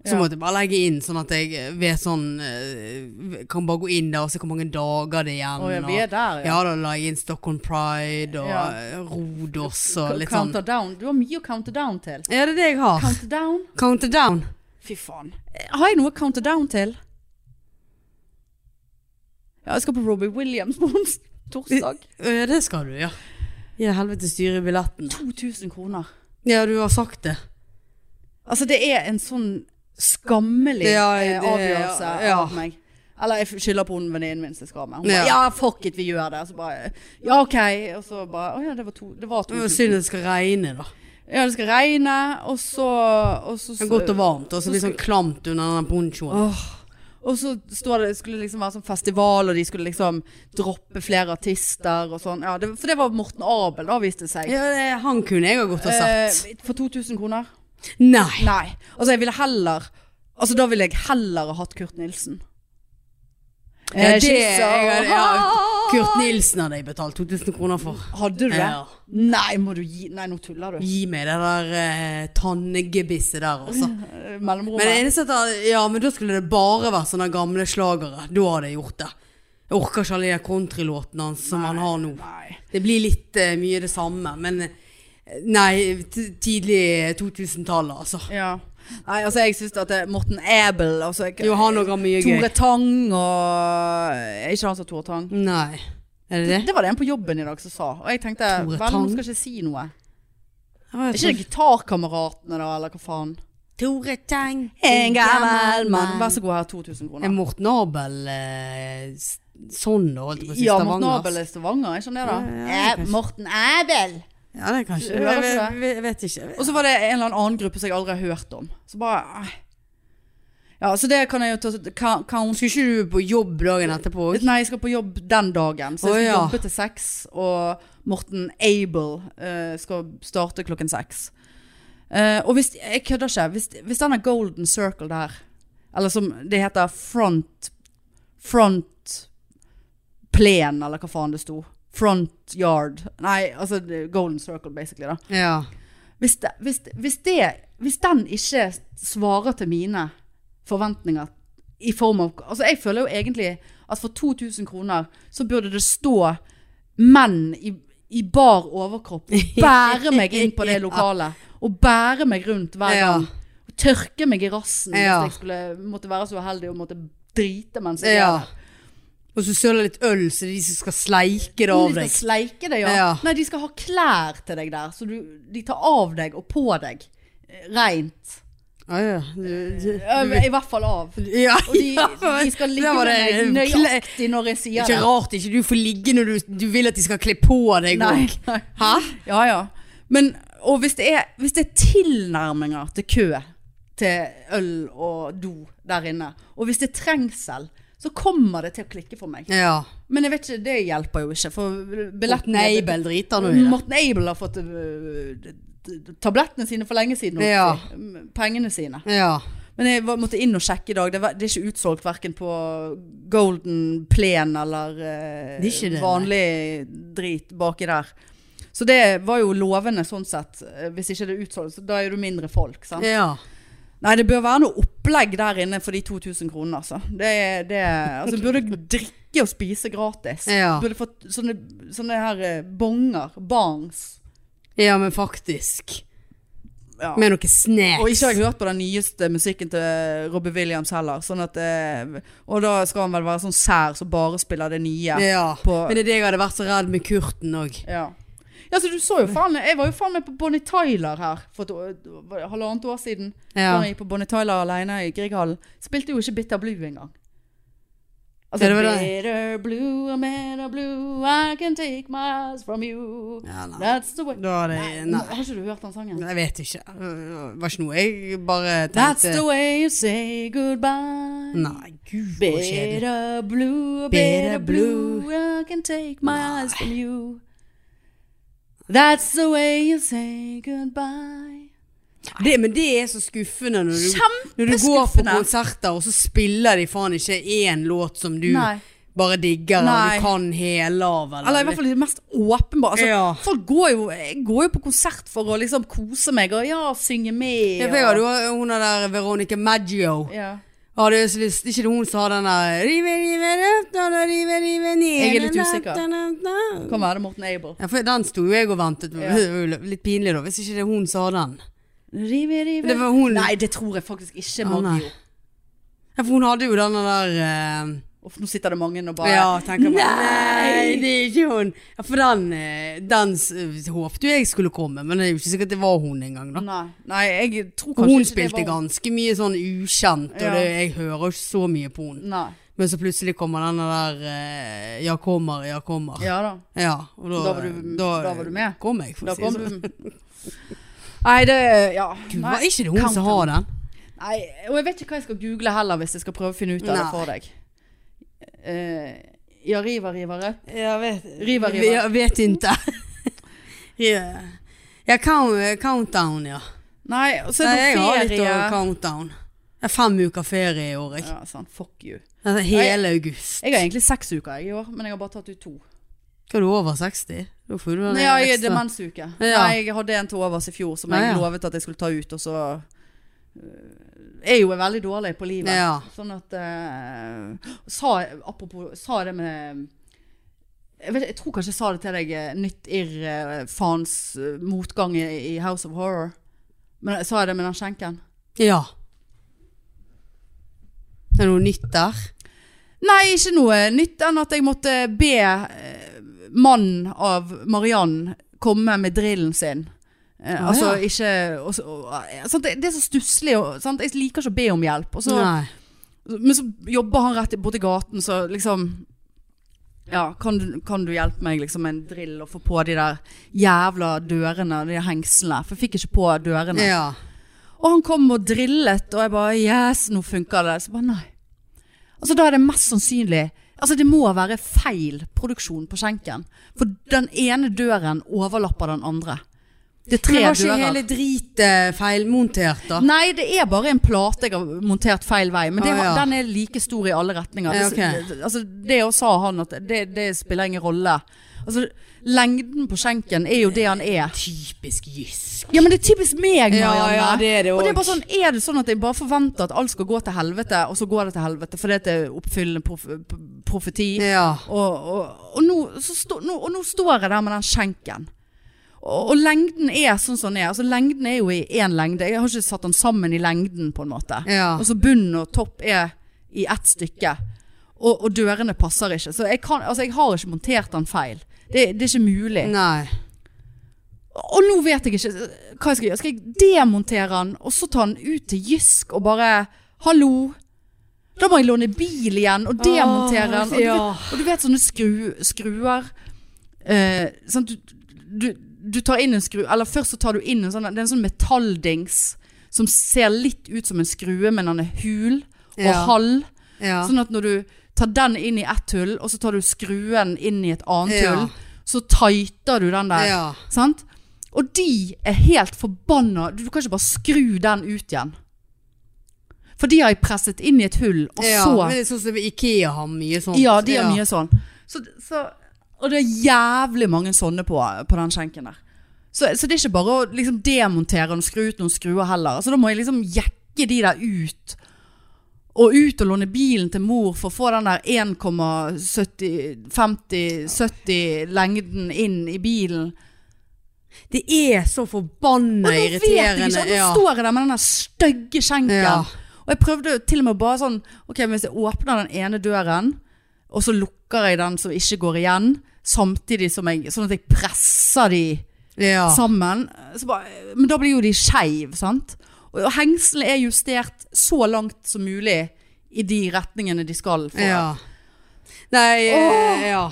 Så Ja. måtte jeg bare legge inn, sånn at jeg vet sånn eh, Kan bare gå inn der og se hvor mange dager det er igjen. Å ja, vi er og, der, ja, da la jeg inn Stockholm Pride og Ja. eh, Rodos og litt sånn. Ah. Counter down. Du har mye å counter down til. Ja, det er det jeg har. Counter down? Countdown. Fy faen. Eh, Har jeg noe å counter down til? Ja, jeg skal på Robbie Williams på ons- torsdag. Ja, Eh, det skal du, ja. Ja, helvete styre billetten. 2000 kroner. Ja, du har sagt det. Altså, det er en sånn skammelig Ja, eh, det- avgjørelse ja. av meg. Eller jeg skylder på hun venninnen min som jeg skal med. Hun Ja. bare, ja, fuck it, vi gjør det. Og så bare, ja, ok. Og så bare, å ja, det var, to, det var Det var 2000. synd det skal regne, da. Ja, det skal regne, og så... Og så Det er godt og varmt, og så blir det sånn klamt under den ponchoen. Åh. Og så står det, skulle det liksom være sånn festival, og de skulle liksom droppe flere artister og sånn. Ja, det, for det var Morten Abel, da viste det seg. Ja, det, han kunne jeg ha godt ha sett. Eh, for 2000 kroner? Nei. Nei. Altså, jeg ville heller Altså, da ville jeg heller ha hatt Kurt Nilsen. Ja, Eh, det, kyss og- jeg, ja, Kurt Nilsen hadde jeg betalt 2000 kroner for. Hadde du det? Ja. Mm. Nei, må du gi Nei, nå tuller du. Gi meg det der eh, tannegebisset der, altså. Eh, Men det Mellomrommet. eneste at han- Ja, men da skulle det bare vært sånne gamle slagere. Da hadde jeg gjort det. Jeg orker ikke alle de der countrylåtene hans som han har nå. Nei. Det blir litt eh, mye det samme, men eh, Nei, t- tidlig 2000-tallet, altså. Ja. Nei, altså, jeg syns at det, Morten Abel altså, jeg, Jo, han òg har mye gøy. Tore Tang og Er ikke han som Tore Tang? Nei. Er det det? Det var det en på jobben i dag som sa. Og jeg tenkte Tore vel, hun Tang? skal ikke si noe. Ja, jeg Er ikke det gitarkameratene, da, eller hva faen? Tore Tang. Vær så god, her er 2000 Er kroner. Morten Abel eh, s- sånn, da, holdt jeg på å si? Ja, Morten Stavanger? Abel er Stavanger, er ikke han det, da? Eh, Ja, ja, kanskje. Morten Abel! Ja, det er kanskje Du hører Jeg, ikke jeg, jeg vet ikke. Og så var det en eller annen gruppe som jeg aldri har hørt om. Så bare eh. Ja, så det kan jeg jo ta ka- count. Skulle ikke du på jobb dagen etterpå òg? Nei, jeg skal på jobb den dagen, så jeg Å, skal ja. jobbe til seks. Og Morten Abel eh, skal starte klokken seks. Eh, og hvis, jeg kødder ikke, hvis, hvis denne Golden Circle der, eller som det heter front Front plen, eller hva faen det sto. Front yard. Nei, altså det- Golden Circle, basically. da. Ja. Hvis, det, hvis, hvis, det, hvis den ikke svarer til mine forventninger i form av Altså, jeg føler jo egentlig at for 2000 kroner så burde det stå menn i, i bar overkropp og bære meg inn på det lokalet. Og bære meg rundt hver Ja. gang. Og tørke meg i rassen Ja. hvis jeg skulle måtte være så uheldig og måtte drite mens jeg ja. er der. Og Og så søler litt øl, så det er de som skal sleike det av De deg. skal sleike deg, ja. Ja. Nei, de skal ha klær til deg der, så du, de tar av deg og på deg. Eh, Rent. Ja, ja. Du- du- Ja, men I hvert fall av. Ja, Og de, ja, de skal ligge der var med det deg kle- nøyaktig når jeg sier Ikke det. rart ikke du får ligge når du, du vil at de skal kle på deg Nei, òg. nei. Hæ? Ja, ja. Men, og hvis det, er, hvis det er tilnærminger til kø til øl og do der inne, og hvis det er trengsel, så kommer det til å klikke for meg. Ja. Men jeg vet ikke, det hjelper jo ikke, for Morten billettene Eibel driter nå i det. Morten Abel har fått øh, tablettene sine for lenge siden. holdt jeg Ja. på å si. Pengene sine. Ja. Men jeg var- måtte inn og sjekke i dag. Det, var, det er ikke utsolgt verken på Golden Plen eller eh, Det er ikke det, nei. vanlig drit baki der. Så det var jo lovende sånn sett. eh, Hvis ikke det er utsolgt, så da er det mindre folk. Sant? ja. Nei, det bør være noe opplegg der inne for de 2000 kronene, altså. Det, er- det, er- altså burde drikke og spise gratis. Ja. Burde fått sånne, sånne her eh, bonger, barns. Ja, men faktisk. Ja. Med noe snacks. Og ikke har jeg hørt på den nyeste musikken til Robbie Williams heller. Sånn at, eh, og da skal han vel være sånn sær som bare spiller det nye. ja. På, Men det er det jeg hadde vært så redd med Kurten òg. ja. ja, så du så jo faen Jeg var jo faen meg på Bonnie Tyler her for et år- var det halvannet år siden. Da Ja. jeg gikk på Bonnie Tyler alene i Grieghallen. Spilte jo ikke Bitter Blue engang. Altså, Ja, det var det. Bitter blue, I'm bitter blue, I can take my eyes from you. Ja, nei. That's the way Da var det Nei. Har ikke du hørt den sangen? Jeg vet ikke. Det var ikke noe jeg bare That's tenkte the way you say goodbye. Nei, gud, så kjedelig. Bitter blue, bitter Bitter blue, I can take my eyes from you. That's the way you say goodbye. Det, men det er så skuffende når du, når du går på Kjempeskuffende. konserter, og så spiller de faen ikke én låt som du Nei. bare digger Nei. eller du kan hele av. Eller, liksom. Eller i hvert fall de mest åpenbare. Altså, Ja. Folk går jo, jeg går jo på konsert for å liksom kose meg og ja, synge med. Ja, for og- jeg hadde jo hun der Veronica Maggio. ja. Jeg hadde jo så lyst Ikke det hun som har den der rive, rive, røttene, rive, rive, ned, Jeg er litt na, usikker. na, na, na. Kan være Morten Abel. Ja, for den sto jo jeg og ventet på. Ja. Det var jo Litt pinlig, da, hvis ikke det er hun som har den. Rive, rive. Det var hun. Nei, det tror jeg faktisk ikke, Å, nei. Maggio. Ja, for hun hadde jo den der eh, Uff, nå sitter det mange og bare Ja, tenker man. Nei! Nei, det er ikke hun. Ja, for den, eh, den s- eh, håpte jo jeg skulle komme, men det er jo ikke sikkert det var hun engang, da. Nei, nei, jeg tror Mm. kanskje Hun ikke det spilte var- ganske mye sånn ukjent, og Ja. det, jeg hører ikke så mye på hun. Nei. Men så plutselig kommer den der eh, 'ja kommer, ja kommer'. Ja da. Ja, og da, Da var du- da var du med. Kom jeg, for Da å si det kom sånn. du Nei, det Ja. Gud, Nei. var ikke det hun Countdown. som har den? Nei, og jeg vet ikke hva jeg skal google heller, hvis jeg skal prøve å finne ut av det Nei. for deg. Eh, ja, riva, riva, røp. Jeg vet Riva, riva. Jeg vet ikke. ja, ja count, eh, countdown, ja. Nei, og så Nei, er jeg det har noe litt over ferie. countdown. Det er fem uker ferie i år, jeg. Ja, sant. Fuck you. Altså, hele august. Jeg har egentlig seks uker jeg, i år, men jeg har bare tatt ut to. Hva er du over 60? Da får du den Nei, jeg er ekstra. demensuke. Ja. Nei, jeg hadde en til overs i fjor som jeg Ja, ja. lovet at jeg skulle ta ut, og så øh, er jo jeg veldig dårlig på livet. Ja. Sånn at øh, sa, Apropos, sa jeg det med jeg, vet, jeg tror kanskje jeg sa det til deg, eh, nytt irr, eh, faens eh, motgang i, i House of Horror. Men Sa jeg det med den skjenken? Ja. Det er noe nytt der. Nei, ikke noe nytt enn at jeg måtte be eh, mannen av Mariann komme med drillen sin. Eh, Å, altså ja. ikke og så- og, eh, sant, det, det er så stusslig. og- sant, Jeg liker ikke å be om hjelp. Og så, Nei. men så jobber han rett borti gaten, så liksom ja, kan, du- kan du hjelpe meg liksom, med en drill og få på de der jævla dørene, de hengslene? For jeg fikk ikke på dørene. Ja. Og han kom og drillet, og jeg bare Yes, nå funker det. Så bare nei. Altså da er det mest sannsynlig Altså det må være feil produksjon på skjenken. For den ene døren overlapper den andre. Det er Men tre det var ikke dører. hele drit eh, feilmontert, da? Nei, det er bare en plate jeg har montert feil vei. Men det, Å, ja. den er like stor i alle retninger. Det, Ja, ok. det- altså, det også sa han at det, det spiller ingen rolle. Altså, lengden på skjenken er jo det han er. Typisk jysk. Ja, men det er typisk meg, Ja, Marianne. ja, det er det og det er også. bare sånn, er det sånn at jeg bare forventer at alt skal gå til helvete, og så går det til helvete fordi at det er oppfyllende prof p- profeti? Ja. Og, og, og, nå, så stå, nå, og nå står jeg der med den skjenken. Og, og lengden er sånn som den er. Altså, lengden er jo i én lengde. Jeg har ikke satt den sammen i lengden, på en måte. Ja. Og så bunn og topp er i ett stykke. Og, og dørene passer ikke. Så jeg, kan, altså, jeg har ikke montert den feil. Det, det er ikke mulig. Nei. Og nå vet jeg ikke hva jeg skal gjøre. Skal jeg demontere den, og så ta den ut til Jysk og bare Hallo! Da må jeg låne bil igjen og demontere den. Og du, Ja. vet, og du vet sånne skru, skruer eh, sant? Du, du, du tar inn en skru Eller først så tar du inn en sånn Det er en sånn metalldings som ser litt ut som en skrue, men den er hul og Ja. halv. Ja. Sånn at når du tar den inn i ett hull, og så tar du skruen inn i et annet Ja. hull, så tighter du den der. ja. Sant? Og de er helt forbanna. Du, du kan ikke bare skru den ut igjen. For de har jeg presset inn i et hull, og ja. så Men det er sånn som Ikea har mye sånt. Ja, de har mye sånn. Så, så, og det er jævlig mange sånne på, på den skjenken der. Så, så det er ikke bare å liksom demontere og skru ut noen skruer heller. Så da må jeg liksom jekke de der ut. Og ut og låne bilen til mor for å få den der 1,50-70 lengden inn i bilen. Det er så Og forbanna nå vet jeg ikke, irriterende. og nå står jeg der med den der stygge skjenken. Ja. Og jeg prøvde jo til og med bare sånn Ok, hvis jeg åpner den ene døren, og så lukker jeg den som ikke går igjen, samtidig som jeg Sånn at jeg presser de ja. ja. sammen. Så bare, men da blir jo de skeiv, sant? Og og hengslene er justert så langt som mulig i de retningene de skal. For. ja. Nei, Åh. eh, ja.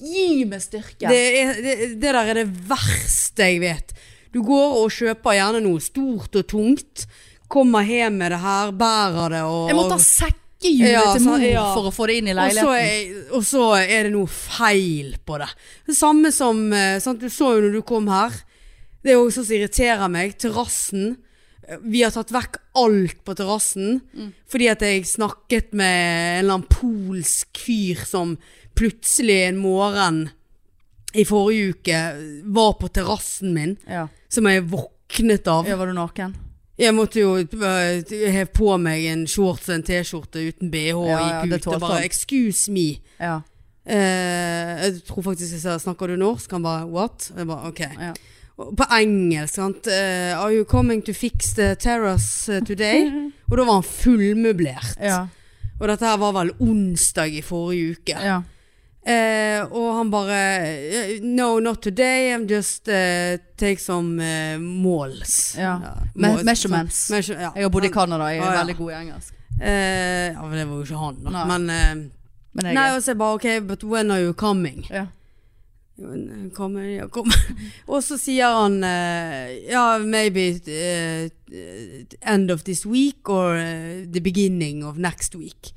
Gi meg styrke! Det, er, det, det der er det verste jeg vet. Du går og kjøper gjerne noe stort og tungt. Kommer hjem med det her, bærer det og jeg måtte ha sekkehjulet Ja, til så- mor ja. for å få det inn i og så, leiligheten. er, og så er det noe feil på det. Det samme som eh, sant, Du så jo når du kom her. Det er jo sånn som irriterer meg. Terrassen. Eh, Vi har tatt vekk alt på terrassen. Mm. Fordi at jeg snakket med en eller annen polsk fyr som plutselig en morgen i forrige uke var på terrassen min, Ja. som jeg våknet av. ja, var du naken? Jeg måtte jo øh, heve på meg en shorts og en T-skjorte uten BH og Ja, ja, gikk det ut og tålte bare han. 'excuse me'. Ja. Eh, jeg tror faktisk jeg sa 'snakker du norsk?' Han bare 'what?' Jeg bare 'ok'. Ja. Og På engelsk, sant. Eh, 'Are you coming to fix the terrace eh, today?' og da var han fullmøblert. Ja. Og dette her var vel onsdag i forrige uke. Ja. Eh, og han bare eh, 'No, not today. I'm just eh, take some eh, malls'. Ja. Me- malls, measurements. sånn. Measure- ja. Jeg har bodd i Han- Canada, jeg er Ah, ja. veldig god i engelsk. Eh, ja, men det var jo ikke han, da. Nei. Men eh, Men jeg, Nei, og så jeg bare OK, but when are you coming? ja. eh, Kommer, ja, kommer. Og så sier han eh, Ja, maybe eh, end of this week or eh, the beginning of next week.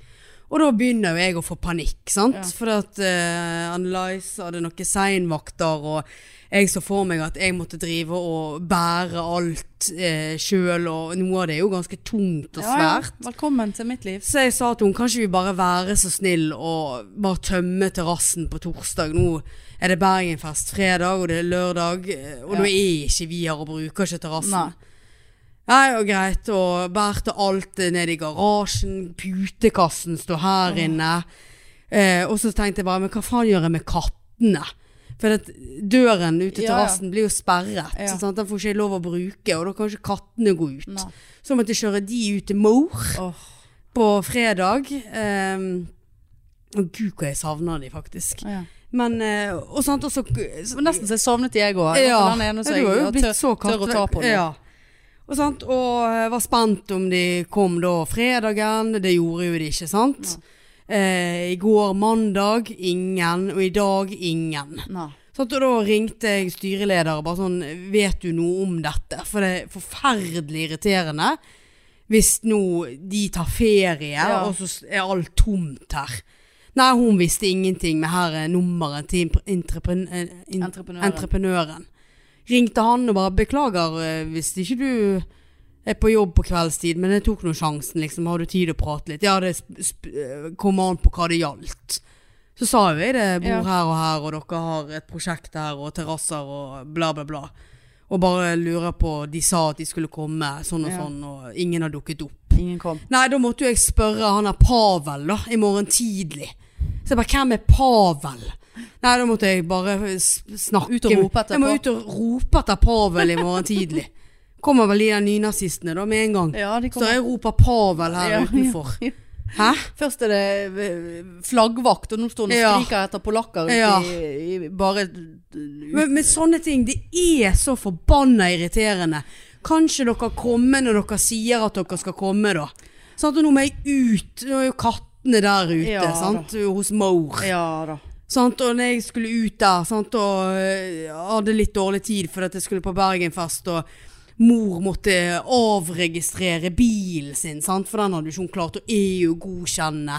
Og da begynner jo jeg å få panikk, sant? Ja. For at eh, Annelise hadde noen seinvakter, og jeg så for meg at jeg måtte drive og bære alt eh, sjøl, og noe av det er jo ganske tungt og Ja, ja. svært. Velkommen til mitt liv. Så jeg sa til henne, kan ikke vi bare være så snill og bare tømme terrassen på torsdag? Nå er det Bergenfest fredag, og det er lørdag, eh, og Ja. nå er ikke vi her og bruker ikke terrassen. Nei. Nei, og greit, og bærte alt ned i garasjen, putekassen står her inne. Eh, og så tenkte jeg bare, men hva faen gjør jeg med kattene? For at døren ut Ja, til ja. terrassen blir jo sperret, Ja. sant? den får ikke jeg lov å bruke, og da kan ikke kattene gå ut. Nei. Så måtte jeg kjøre de ut til mor Åh, på fredag. ehm, og gud, hva jeg savner de faktisk. ja. Men eh, Og sånt også Det var nesten så jeg sovnet jeg òg. Ja, Den ene som du har jo jeg blitt tør, så tør å ta på. nå. Ja. Og, sant? og eh, var spent om de kom da fredagen. Det gjorde jo de ikke, sant? Eh, I går mandag ingen, og i dag ingen. Nei. Sånn, og da ringte jeg styreleder og bare sånn, vet du noe om dette? For det er forferdelig irriterende hvis nå de tar ferie, Ja. og så er alt tomt her. Nei, hun visste ingenting med her er nummeret til impre- entrepren- eh, in- Entreprenøren. entreprenøren. Ringte han og bare, beklager eh, hvis ikke du er på jobb på kveldstid, men jeg tok noen sjansen, liksom, har du tid å prate litt? Ja, det sp- sp- eh, kommer an på hva det gjaldt. Så sa jo jeg det, bor Ja. her og her, og dere har et prosjekt her, og terrasser og bla bla bla. Og bare lurer på, de sa at de skulle komme sånn og Ja. sånn, og ingen har dukket opp. Ingen kom. Nei, da måtte jo jeg spørre han er Pavel da, i morgen tidlig. Så jeg bare, hvem er Pavel? Nei, da måtte jeg bare s- snakke. Ut og rope etter Jeg må Pa- ut og rope etter Pavel i morgen tidlig. Kommer vel de der nynazistene da med en gang. Ja, de kom. Så jeg roper Pavel her Ja, ja. utenfor. Hæ? Først er det eh, flaggvakt, og nå står han og Ja. skriker etter polakker ute Ja. i, i bare Men, men sånne ting, det er så forbanna irriterende. Kanskje dere kommer når dere sier at dere skal komme, da. Sant, og nå må jeg ut. Nå er jo kattene der ute, Ja, sant. Hos mor. Ja da. Sant? Og når jeg skulle ut der sant? og øh, hadde litt dårlig tid fordi at jeg skulle på Bergenfest, og mor måtte avregistrere bilen sin, sant? for den hadde jo ikke hun klart å EU-godkjenne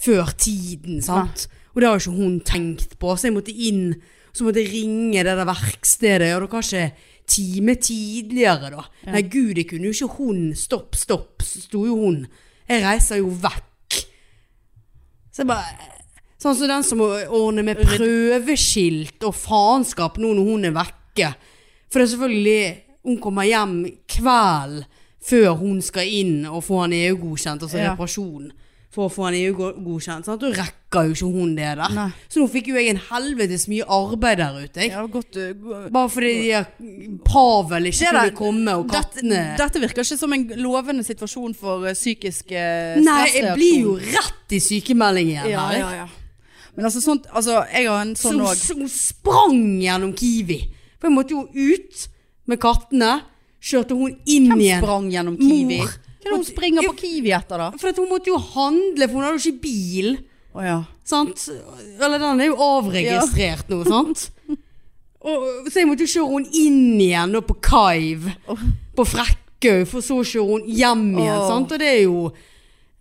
før tiden. Sant? Og det har jo ikke hun tenkt på, så jeg måtte inn. Så måtte jeg ringe det der verkstedet. Og dere har ikke time tidligere, da. Nei, gud, det kunne jo ikke hun. Stopp, stopp, sto jo hun. Jeg reiser jo vekk. Så jeg bare Sånn som den som ordner med prøveskilt og faenskap nå når hun er vekke. For det er selvfølgelig Hun kommer hjem kveld før hun skal inn og få han EU-godkjent, altså Ja. reparasjon. For å få han EU-godkjent. sant? Da rekker jo ikke hun det der. Nei. Så nå fikk jo jeg en helvetes mye arbeid der ute. Jeg. Ja, godt, eh, gå- Bare fordi de der Pavel ikke Det der- kunne komme, og dette, kattene dette virker ikke som en lovende situasjon for eh, psykisk eh, Nei, jeg blir jo stressreaksjon. rett i sykemelding igjen. ja, her, jeg. ja, ja. Men altså, sånt, altså, jeg har en sånn Som- òg. Som sprang gjennom Kiwi. For jeg måtte jo ut med kattene. Kjørte hun inn Hvem igjen. sprang gjennom Kiwi? Mor. Hva er det hun springer på Kiwi etter, da? For at hun måtte jo handle, for hun hadde jo ikke bil. Å ja. Sant? Eller den er jo avregistrert nå, sant? Og, så jeg måtte jo kjøre hun inn igjen da på Kaiv. På Frekkøy, for så kjører hun hjem igjen. Åh. Sant? Og det er jo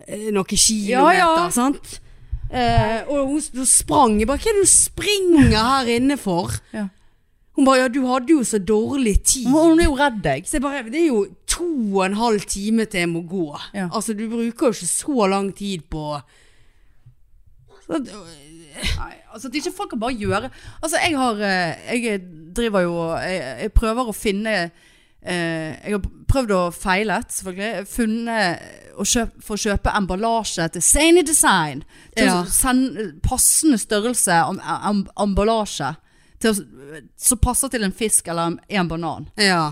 eh, noen kilometer, Ja, ja. sant? Eh, og hun s- hun sprang. Jeg bare Hva er det du springer her inne for? Ja. Hun bare, ja du hadde jo så dårlig tid. Hun hun er jo redd deg. Så jeg bare, det er jo to og en halv time til jeg må gå. Ja. Altså du bruker jo ikke så lang tid på... Så, Nei, altså at ikke folk kan bare gjøre Altså jeg har eh, Jeg driver jo og- Jeg, jeg prøver å finne eh, Jeg har prøvd og feilet selvfølgelig Funnet å kjøp, For å kjøpe emballasje til Sane Design Til Ja. å sende passende størrelse am, am, Emballasje til å, Som passer til en fisk Eller en, en banan ja.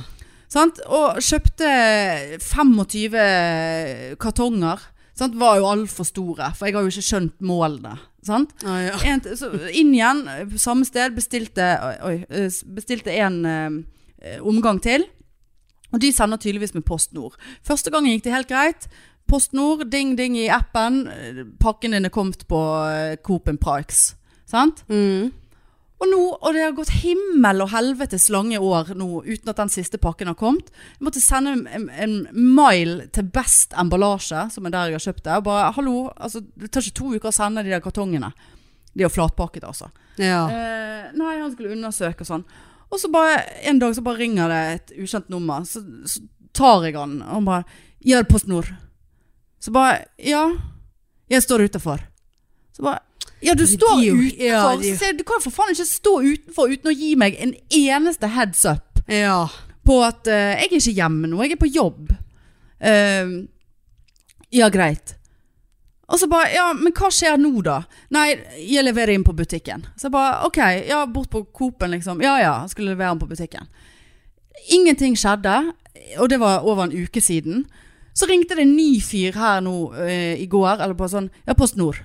sant? Og kjøpte 25 kartonger sant? Var jo alt for store For jeg har jo ikke skjønt målene Sant? Ja, ja. En, t- så inn igjen, eh, på samme sted, bestilte, oi, oi, eh, s- bestilte en eh, omgang til. Og de sender tydeligvis med Post Nord. Første gangen gikk det helt greit. Post Nord, ding ding i appen. eh, Pakken din er kommet på eh, Coop and Parks. Sant? Mm. Og nå, og det har gått himmel og helvetes lange år nå uten at den siste pakken har kommet. Jeg måtte sende en, en mile til Best emballasje, som er der jeg har kjøpt det. Og bare hallo, altså, det tar ikke to uker å sende de der kartongene. De er flatpakket, altså. Ja. Eh, nei, han skulle undersøke og sånn. Og så bare en dag så bare ringer det et ukjent nummer. Så, så tar jeg han, og han bare Ja, det er Post Nord. Så bare Ja, jeg står utafor. Så bare Ja, du De står er jo- ja, utenfor. de er jo- Se, du kan jo for faen ikke stå utenfor uten å gi meg en eneste heads up Ja. på at eh, jeg er ikke hjemme nå, jeg er på jobb. Ehm, ja, greit. Og så bare, ja, men hva skjer nå da? Nei, jeg leverer inn på butikken. Så jeg bare, ok, ja, bort på Coop-en liksom. Ja, ja, jeg skulle levere inn på butikken. Ingenting skjedde, og det var over en uke siden. Så ringte det en ny fyr her nå eh, i går, eller på sånn, ja, Post Nord.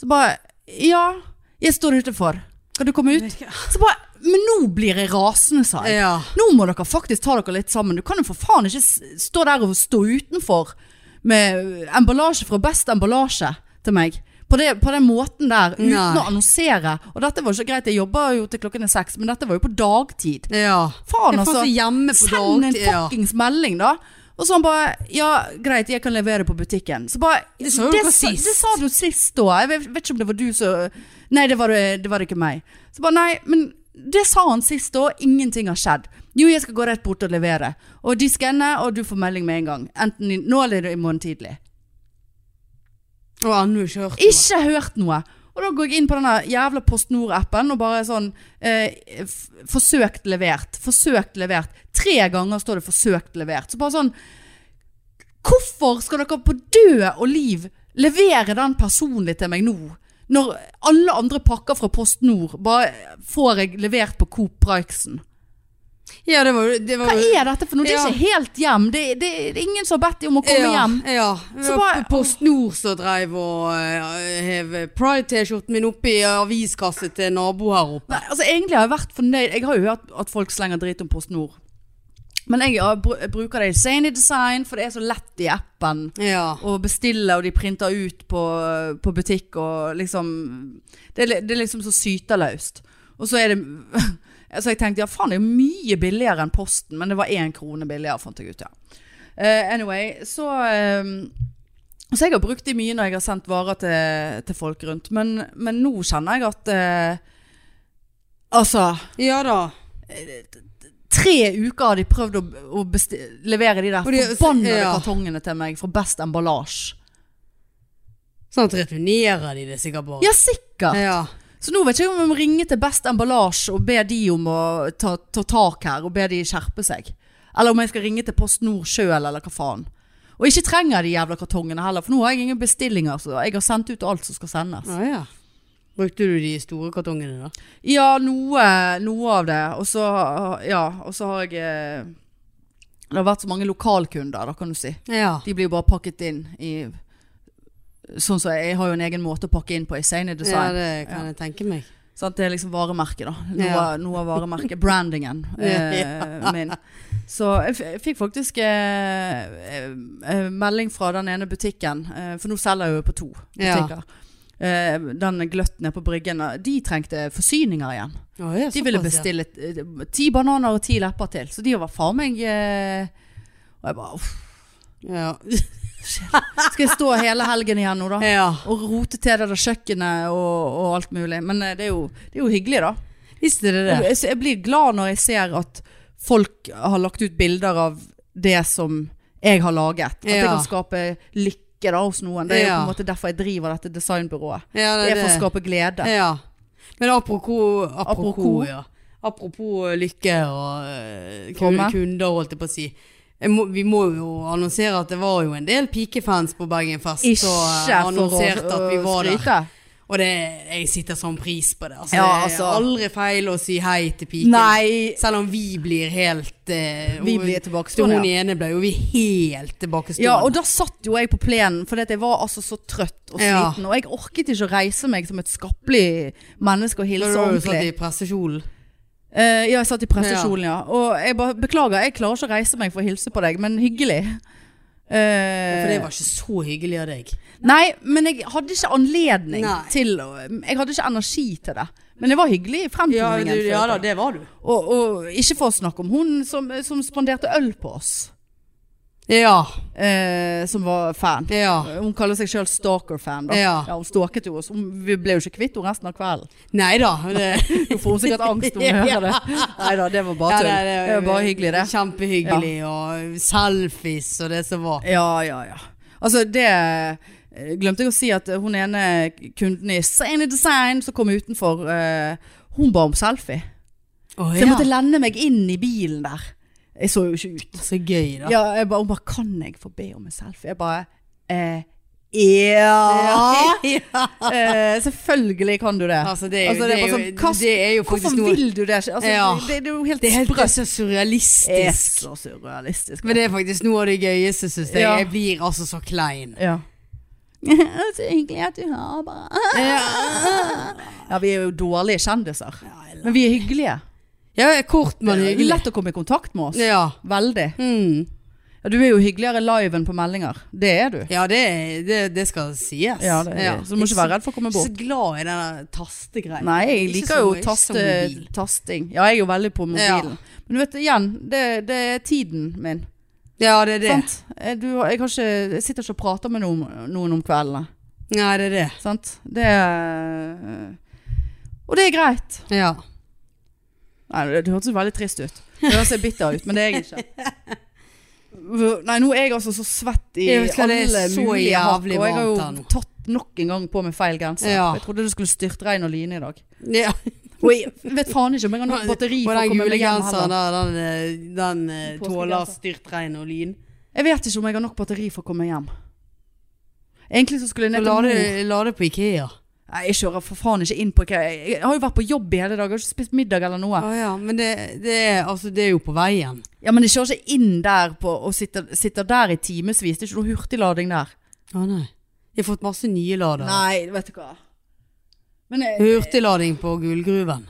Så bare, ja, jeg står utenfor. Kan du komme ut? Så bare, men nå blir jeg rasende, sa jeg. Ja. Nå må dere faktisk ta dere litt sammen. Du kan jo for faen ikke s- stå der og stå utenfor med emballasje fra Best emballasje til meg. På, det, på den måten der, uten Nei. å annonsere. Og dette var jo ikke greit, jeg jobber jo til klokken er seks, men dette var jo på dagtid. Ja. Faen, Jeg fant altså. det hjemme på Send en dag- ja. fuckings melding, da. Og så han bare Ja, greit, jeg kan levere på butikken. Så bare Det sa jo dere sa- sist. Det sa du sist da. Jeg vet, vet ikke om det var du som Nei, det var, det var ikke meg. Så bare nei, men det sa han sist da. Ingenting har skjedd. Jo, jeg skal gå rett bort og levere. Og de skanner, og du får melding med en gang. Enten i, nå eller i morgen tidlig. Og ennå ikke hørt noe. Ikke hørt noe. Og da går jeg inn på denne jævla PostNord-appen og bare sånn eh, f- Forsøkt levert. Forsøkt levert. Tre ganger står det 'forsøkt levert'. Så bare sånn Hvorfor skal dere på død og liv levere den personlig til meg nå? Når alle andre pakker fra PostNord bare får jeg levert på Coop Prikesen. Ja, det var jo det var Hva jo- er dette for noe? Det er Ja. ikke helt hjem. Det, det, det er ingen som har bedt deg om å komme ja, hjem. Ja. Det Så var bare- Post Nord som dreiv og eh, hev Pride-T-skjorten min opp i aviskasse til nabo her oppe. Nei, altså Egentlig har jeg vært fornøyd. Jeg har jo hørt at folk slenger drit om Post Nord. Men jeg ja, br bruker det i Zany Design, for det er så lett i appen Ja. å bestille, og de printer ut på, på butikk og liksom det er, li- det er liksom så syterløst. Og så er det Så jeg tenkte ja, faen, det er jo mye billigere enn Posten, men det var én krone billigere, fant jeg ut, ja. Eh, anyway, så eh, Så jeg har brukt de mye når jeg har sendt varer til, til folk rundt, men, men nå kjenner jeg at eh, Altså ja da. Tre uker har de prøvd å, å besti levere de der Og de- forbannede ja. kartongene til meg fra Best Emballasje. Sånn at returnerer de det sikkert bare. Ja, sikkert! ja. Så nå vet ikke jeg om jeg må ringe til Best Emballasje og be de om å ta, ta tak her, og be de skjerpe seg. Eller om jeg skal ringe til Post Nord sjøl, eller hva faen. Og ikke trenger de jævla kartongene heller, for nå har jeg ingen bestillinger. Så jeg har sendt ut alt som skal sendes. Ja, ja. Brukte du de store kartongene da? Ja, noe, noe av det. Og så ja, og så har jeg eh, Det har vært så mange lokalkunder, da, kan du si. Ja. De blir jo bare pakket inn i Sånn som jeg har jo en egen måte å pakke inn på i Sane Ja, Design. det kan jeg tenke meg. Sant? Det er liksom varemerket, da. Noe, Ja. noe av varemerket. Brandingen eh, min. Så jeg, f jeg fikk faktisk eh, eh, eh, melding fra den ene butikken, eh, for nå selger jeg jo på to Ja. butikker. Eh, den gløtten nede på Bryggen, eh, de trengte forsyninger igjen. Å, ja, De ville såpass, ja. bestille eh, ti bananer og ti lepper til, så de var faen meg eh, Og jeg bare uff, Ja. skal jeg stå hele helgen igjen nå, da? ja. Og rote til det der kjøkkenet og, og alt mulig. Men eh, det er jo, det er jo hyggelig, da. Visste dere Og det? Jeg, jeg blir glad når jeg ser at folk har lagt ut bilder av det som jeg har laget. At jeg Ja. kan skape lykke da hos noen. Det er jo Ja. på en måte derfor jeg driver dette designbyrået. Ja, Det er for å skape glede. Ja. Men apropos Apropos, Apropos. ja. apropos eh, lykke og eh, kun- Komme. kunder, holdt jeg på å si. Jeg må, vi må jo annonsere at det var jo en del pikefans på Bergenfest. Ikke og eh, for å annonserte at vi øh, var der. skryte. Og det, jeg sitter sånn pris på det. Altså, Ja, Det altså. er aldri feil å si hei til piken. Nei, Selv om vi blir helt eh, vi hun- blir Til hun tilbakestående. ja. ene ble jo vi helt tilbakestående. Ja, og da satt jo jeg på plenen, for jeg var altså så trøtt og Ja. sliten. Og jeg orket ikke å reise meg som et skappelig menneske og Da hilse var du ordentlig. satt i presseskjolen. Eh, ja, jeg satt i pressekjolen, ja. Og jeg bare beklager, jeg klarer ikke å reise meg for å hilse på deg, men hyggelig. Eh, For det var ikke så hyggelig av deg. Nei, men jeg hadde ikke anledning Nei. til å Jeg hadde ikke energi til det. Men jeg var hyggelig i Ja, fremtoningen. du, ja følte da, jeg. det var du. og, og ikke for å snakke om hun som, som spanderte øl på oss, Ja. eh, som var fan. Ja. Hun kaller seg sjøl stalker-fan. da. Ja. hun stalket jo oss. Hun- Vi ble jo ikke kvitt henne resten av kvelden. Nei da. Det, Hun får sikkert angst når hun Ja. hører det. Nei da, det var bare tull. Ja, det, var bare hyggelig, det. Kjempehyggelig. Og selfies og det som var. Ja, ja, ja. Altså, det eh, glemte jeg å si at hun ene kunden i Sane Design som kom utenfor, eh, hun ba om selfie. Oh, Så jeg måtte lende meg inn i bilen der. Jeg så jo ikke ut. Så gøy, da. Ja, jeg bare, hun bare, kan jeg få be om en selfie? Jeg bare, eh, ja. Ja. Eh, selvfølgelig kan du det. Altså, det er jo, Altså, det det er bare er jo, sånn, hva- det er jo Hvorfor faktisk noe vil du det? ikke? Altså, Ja. det, det er jo helt, Det er helt det er sprøtt. Det så er surrealistisk. så surrealistisk. Men det er faktisk noe av det gøyeste, syns jeg. Ja. Jeg blir altså så klein. Ja. så hyggelig at du har bare. Ja, vi er jo dårlige kjendiser. Men vi er hyggelige. Ja, kort, men hyggelig. Lett å komme i kontakt med oss. Ja. Veldig. Mm. Ja, du er jo hyggeligere live enn på meldinger. Det er du. Ja, det, det, det skal sies. Ja, det er. Så du må ikke være redd for å komme Jeg er bort. så glad i den tastegreia. Nei, jeg Ikke liker så- jo ikke så taste, mobil. tasting. Ja, jeg er jo veldig på mobilen. Men du vet, igjen, det, det er tiden min. Ja, det er det. Sant? Eh, Du, jeg, har ikke, jeg sitter ikke og prater med noen, noen om kveldene. Nei, det er det. Sant? Det er Og det er greit. Ja. Nei, det, det hørtes jo veldig trist ut. Det høres jeg bitter ut, men det er jeg ikke. Nei, nå er jeg altså så svett i Jeg vet hva, alle det er så mulige hakk, jævlig og jeg har jo varmt her nå. tatt nok en gang på meg feil genser. Ja. Jeg trodde det skulle styrtregne og lyne i dag. ja. Og jeg vet faen ikke om jeg har nok batteri Og for å den komme gule meg hjem genseren heller. der, den, eh, den eh, Påskegenser. tåler styrt regn og lyn. Jeg vet ikke om jeg har nok batteri for å komme hjem. Egentlig så skulle jeg ned til La det, mor. la det på Ikea. Nei, jeg kjører for faen ikke inn på hva Jeg jeg har jo vært på jobb i hele dag, jeg har ikke spist middag eller noe. Å ja, men det, det, er, altså, det er jo på veien. Ja, men jeg kjører ikke inn der på, og sitter, sitter der i timevis. Det er ikke noe hurtiglading der. Å nei. Jeg har fått masse nye lader. Nei, vet du hva. Men jeg, Hurtiglading på gullgruven.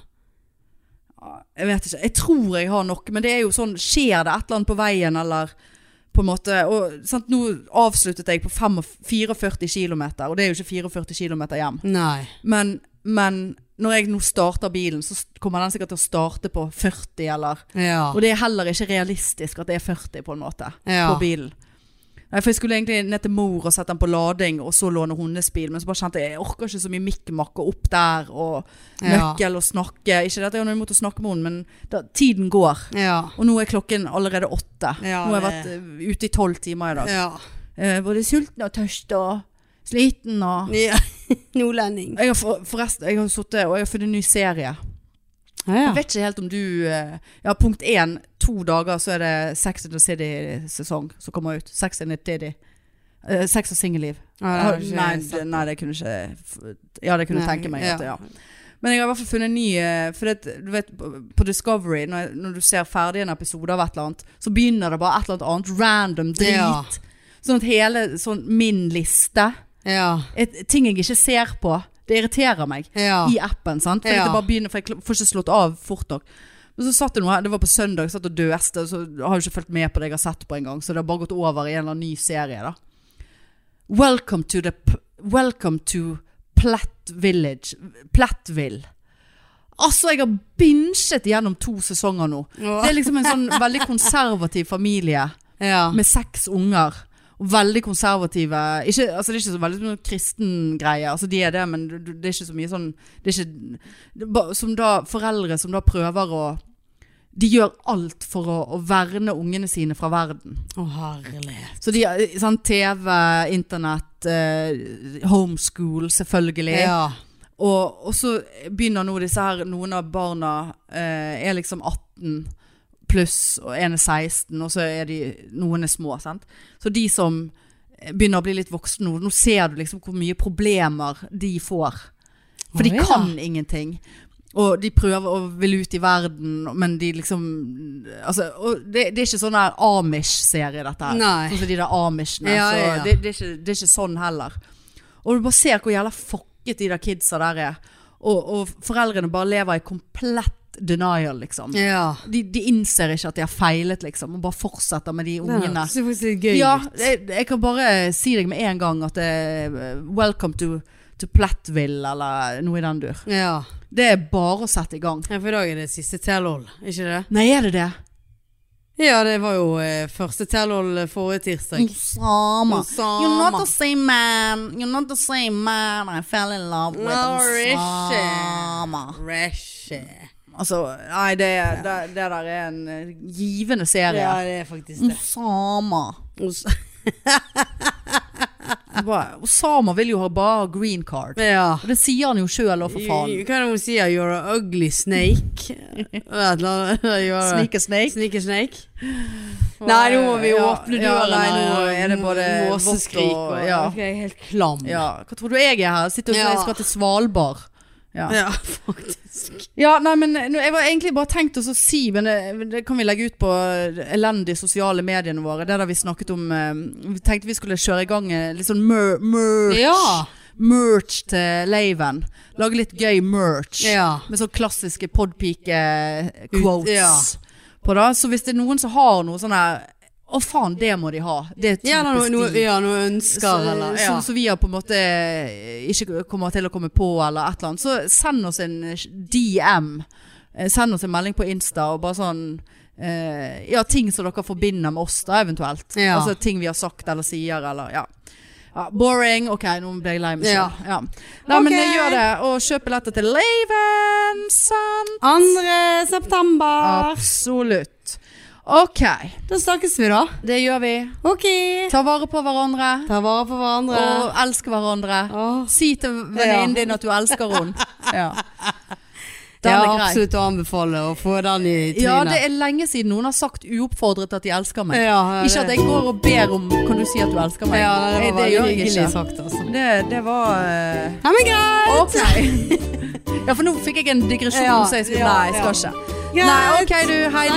jeg vet ikke. Jeg tror jeg har nok, men det er jo sånn Skjer det et eller annet på veien, eller på en måte og, sant, Nå avsluttet jeg på fem og f- 44 km, og det er jo ikke 44 km hjem. Nei. Men, men når jeg nå starter bilen, så st- kommer den sikkert til å starte på 40, eller Ja. Og det er heller ikke realistisk at det er 40, på en måte, Ja. på bilen. Nei, for Jeg skulle egentlig ned til mor og sette den på lading, og så låne hennes bil. Men så bare kjente jeg jeg orker ikke så mye mikkmakk og opp der og Ja. nøkkel og snakke. Ikke dette jeg har noe imot å snakke med henne, men da, tiden går. Ja. Og nå er klokken allerede åtte. Ja, nå har jeg vært det- eh, ute i tolv timer i dag. ja. Eh, både sulten og tørst og sliten og ja. Nordlending. jeg har for, Forresten, jeg har sittet og jeg har funnet en ny serie. Jeg Ja. vet ikke helt om du eh, Ja, punkt én. To dager så er det Sex and the City-sesong som kommer ut. Sex and the Diddy. Eh, sex og singelliv. Ja, det har Nei, jeg ikke det- sett. nei, det kunne ikke f- Ja, det kunne jeg Nei, tenke meg. At, ja. Men jeg har i hvert fall funnet en ny eh, For det, du vet, på- på Discovery, når, jeg- når du ser ferdig en episode av et eller annet, så begynner det bare et eller annet annet random drit. Ja. Sånn at hele sånn min liste Ja. et, Ting jeg ikke ser på. Det irriterer meg Ja. i appen. Sant? For, Ja. det bare begynner, for jeg kl- får ikke slått av fort nok. Men så satt det noe her, det var på søndag, satt og døste, så har jeg ikke fulgt med på det jeg har sett på en gang, så det har bare gått over i en eller annen ny serie da. Welcome to the, p- welcome to Platt Village, Plattville. Altså, jeg har binsjet gjennom to sesonger nå. Det er liksom en sånn veldig konservativ familie ja. med seks unger. Og veldig konservative ikke, altså Det er ikke så veldig sånn kristen greie. Altså de er det, men du- du- det er ikke så mye sånn Det er ikke det er ba- Som da foreldre som da prøver å De gjør alt for å, å verne ungene sine fra verden. Å, herlighet. Så de eh, sånn TV, internett, eh, homeschool selvfølgelig. Ja. Og, og så begynner nå disse her Noen av barna eh, er liksom 18 pluss, og en er 16, og så er de Noen er små, sant. Så de som begynner å bli litt voksne nå, nå ser du liksom hvor mye problemer de får. For Å, de ja. kan ingenting. Og de prøver å vil ut i verden, men de liksom Altså, og det, det er ikke sånn der Amish-serie, dette her. Nei. Sånn som de der Amishene. Ja, så ja, ja. Det, det, er ikke, det er ikke sånn heller. Og du bare ser hvor jævla fucket de der kidsa der er. Og, og foreldrene bare lever i komplett denial, liksom. Ja. De, de innser ikke at de har feilet, liksom, og bare fortsetter med de ungene. Det ser faktisk litt gøy Ja, ut. jeg, jeg kan bare si deg med en gang at det er eh, Welcome to, to Plattville, eller noe i den dur. Ja. Det er bare å sette i gang. ja, for i dag er det siste Tellol, ikke det? Nei, er det det? Ja, det var jo eh, første Tellol forrige tirsdag. Osama. You're not Osama. the same man. You're not the same man I fell in love with. No, Osama. Rishi. Rishi. Altså, nei, det, det, det der er en eh, givende serie. Ja, det er faktisk det. Osama. Os- Bare- Osama vil jo ha bare green card. Ja. Og det sier han jo sjøl òg, for faen. Hva er det hun sier? You're a ugly snake? Et eller annet. You're a- Sneaker snake. Sneaky snake? Nei, nå må vi åpne døren. Nei, her, nå er det både måseskrik vått og, og- ja. ja. Jeg er helt klam. Ja, hva tror du jeg er her? Sitter og Ja. jeg skal til Svalbard. Ja. Ja, faktisk. ja, nei, men eh, nå- jeg var egentlig bare tenkt å så si, men det, det kan vi legge ut på elendige sosiale mediene våre. Det der vi snakket om eh, Vi tenkte vi skulle kjøre i gang eh, litt sånn mer, merch. Ja. Merch til Laven. Lage litt gøy merch. Ja. Med sånn klassiske podpike-quotes. Ut- ja. på det. Så hvis det er noen som har noe sånn her Å, faen, det må de ha. Det er typisk Ja, noe, noe, de. ja, noe ønsker, Så- eller ja. Sånn som vi har på en måte eh, ikke kommer til å komme på, eller et eller annet. Så send oss en eh, DM. Eh, Send oss en melding på Insta og bare sånn eh, Ja, ting som dere forbinder med oss, da, eventuelt. Ja. Altså ting vi har sagt eller sier, eller ja. ja boring. Ok, nå ble jeg lei meg Ja. selv. Ja. Nei, men Ok. eh, gjør det. Og kjøp billetter til Laven! Sant? 2. september. Absolutt. Ok, Da snakkes vi, da. det gjør vi. Ok. Ta vare på hverandre. Ta vare på hverandre. Og elsk hverandre. Åh. Si til venninnen din at du elsker henne. Ja. Den er ja, grei. absolutt å anbefale å få den i trynet. Ja, det er lenge siden noen har sagt uoppfordret at de elsker meg. Ja, Ikke at jeg går og ber om Kan du si at du elsker meg? Ja, det Eh, var veldig gjør jeg hyggelig ikke. sagt, altså. Det, det var eh, Nei, men greit! Ok. Ja, for nå fikk jeg en digresjon, Ja, så jeg skulle ja, Nei, jeg ja. skal ikke. Greit. Nei, ok du, hei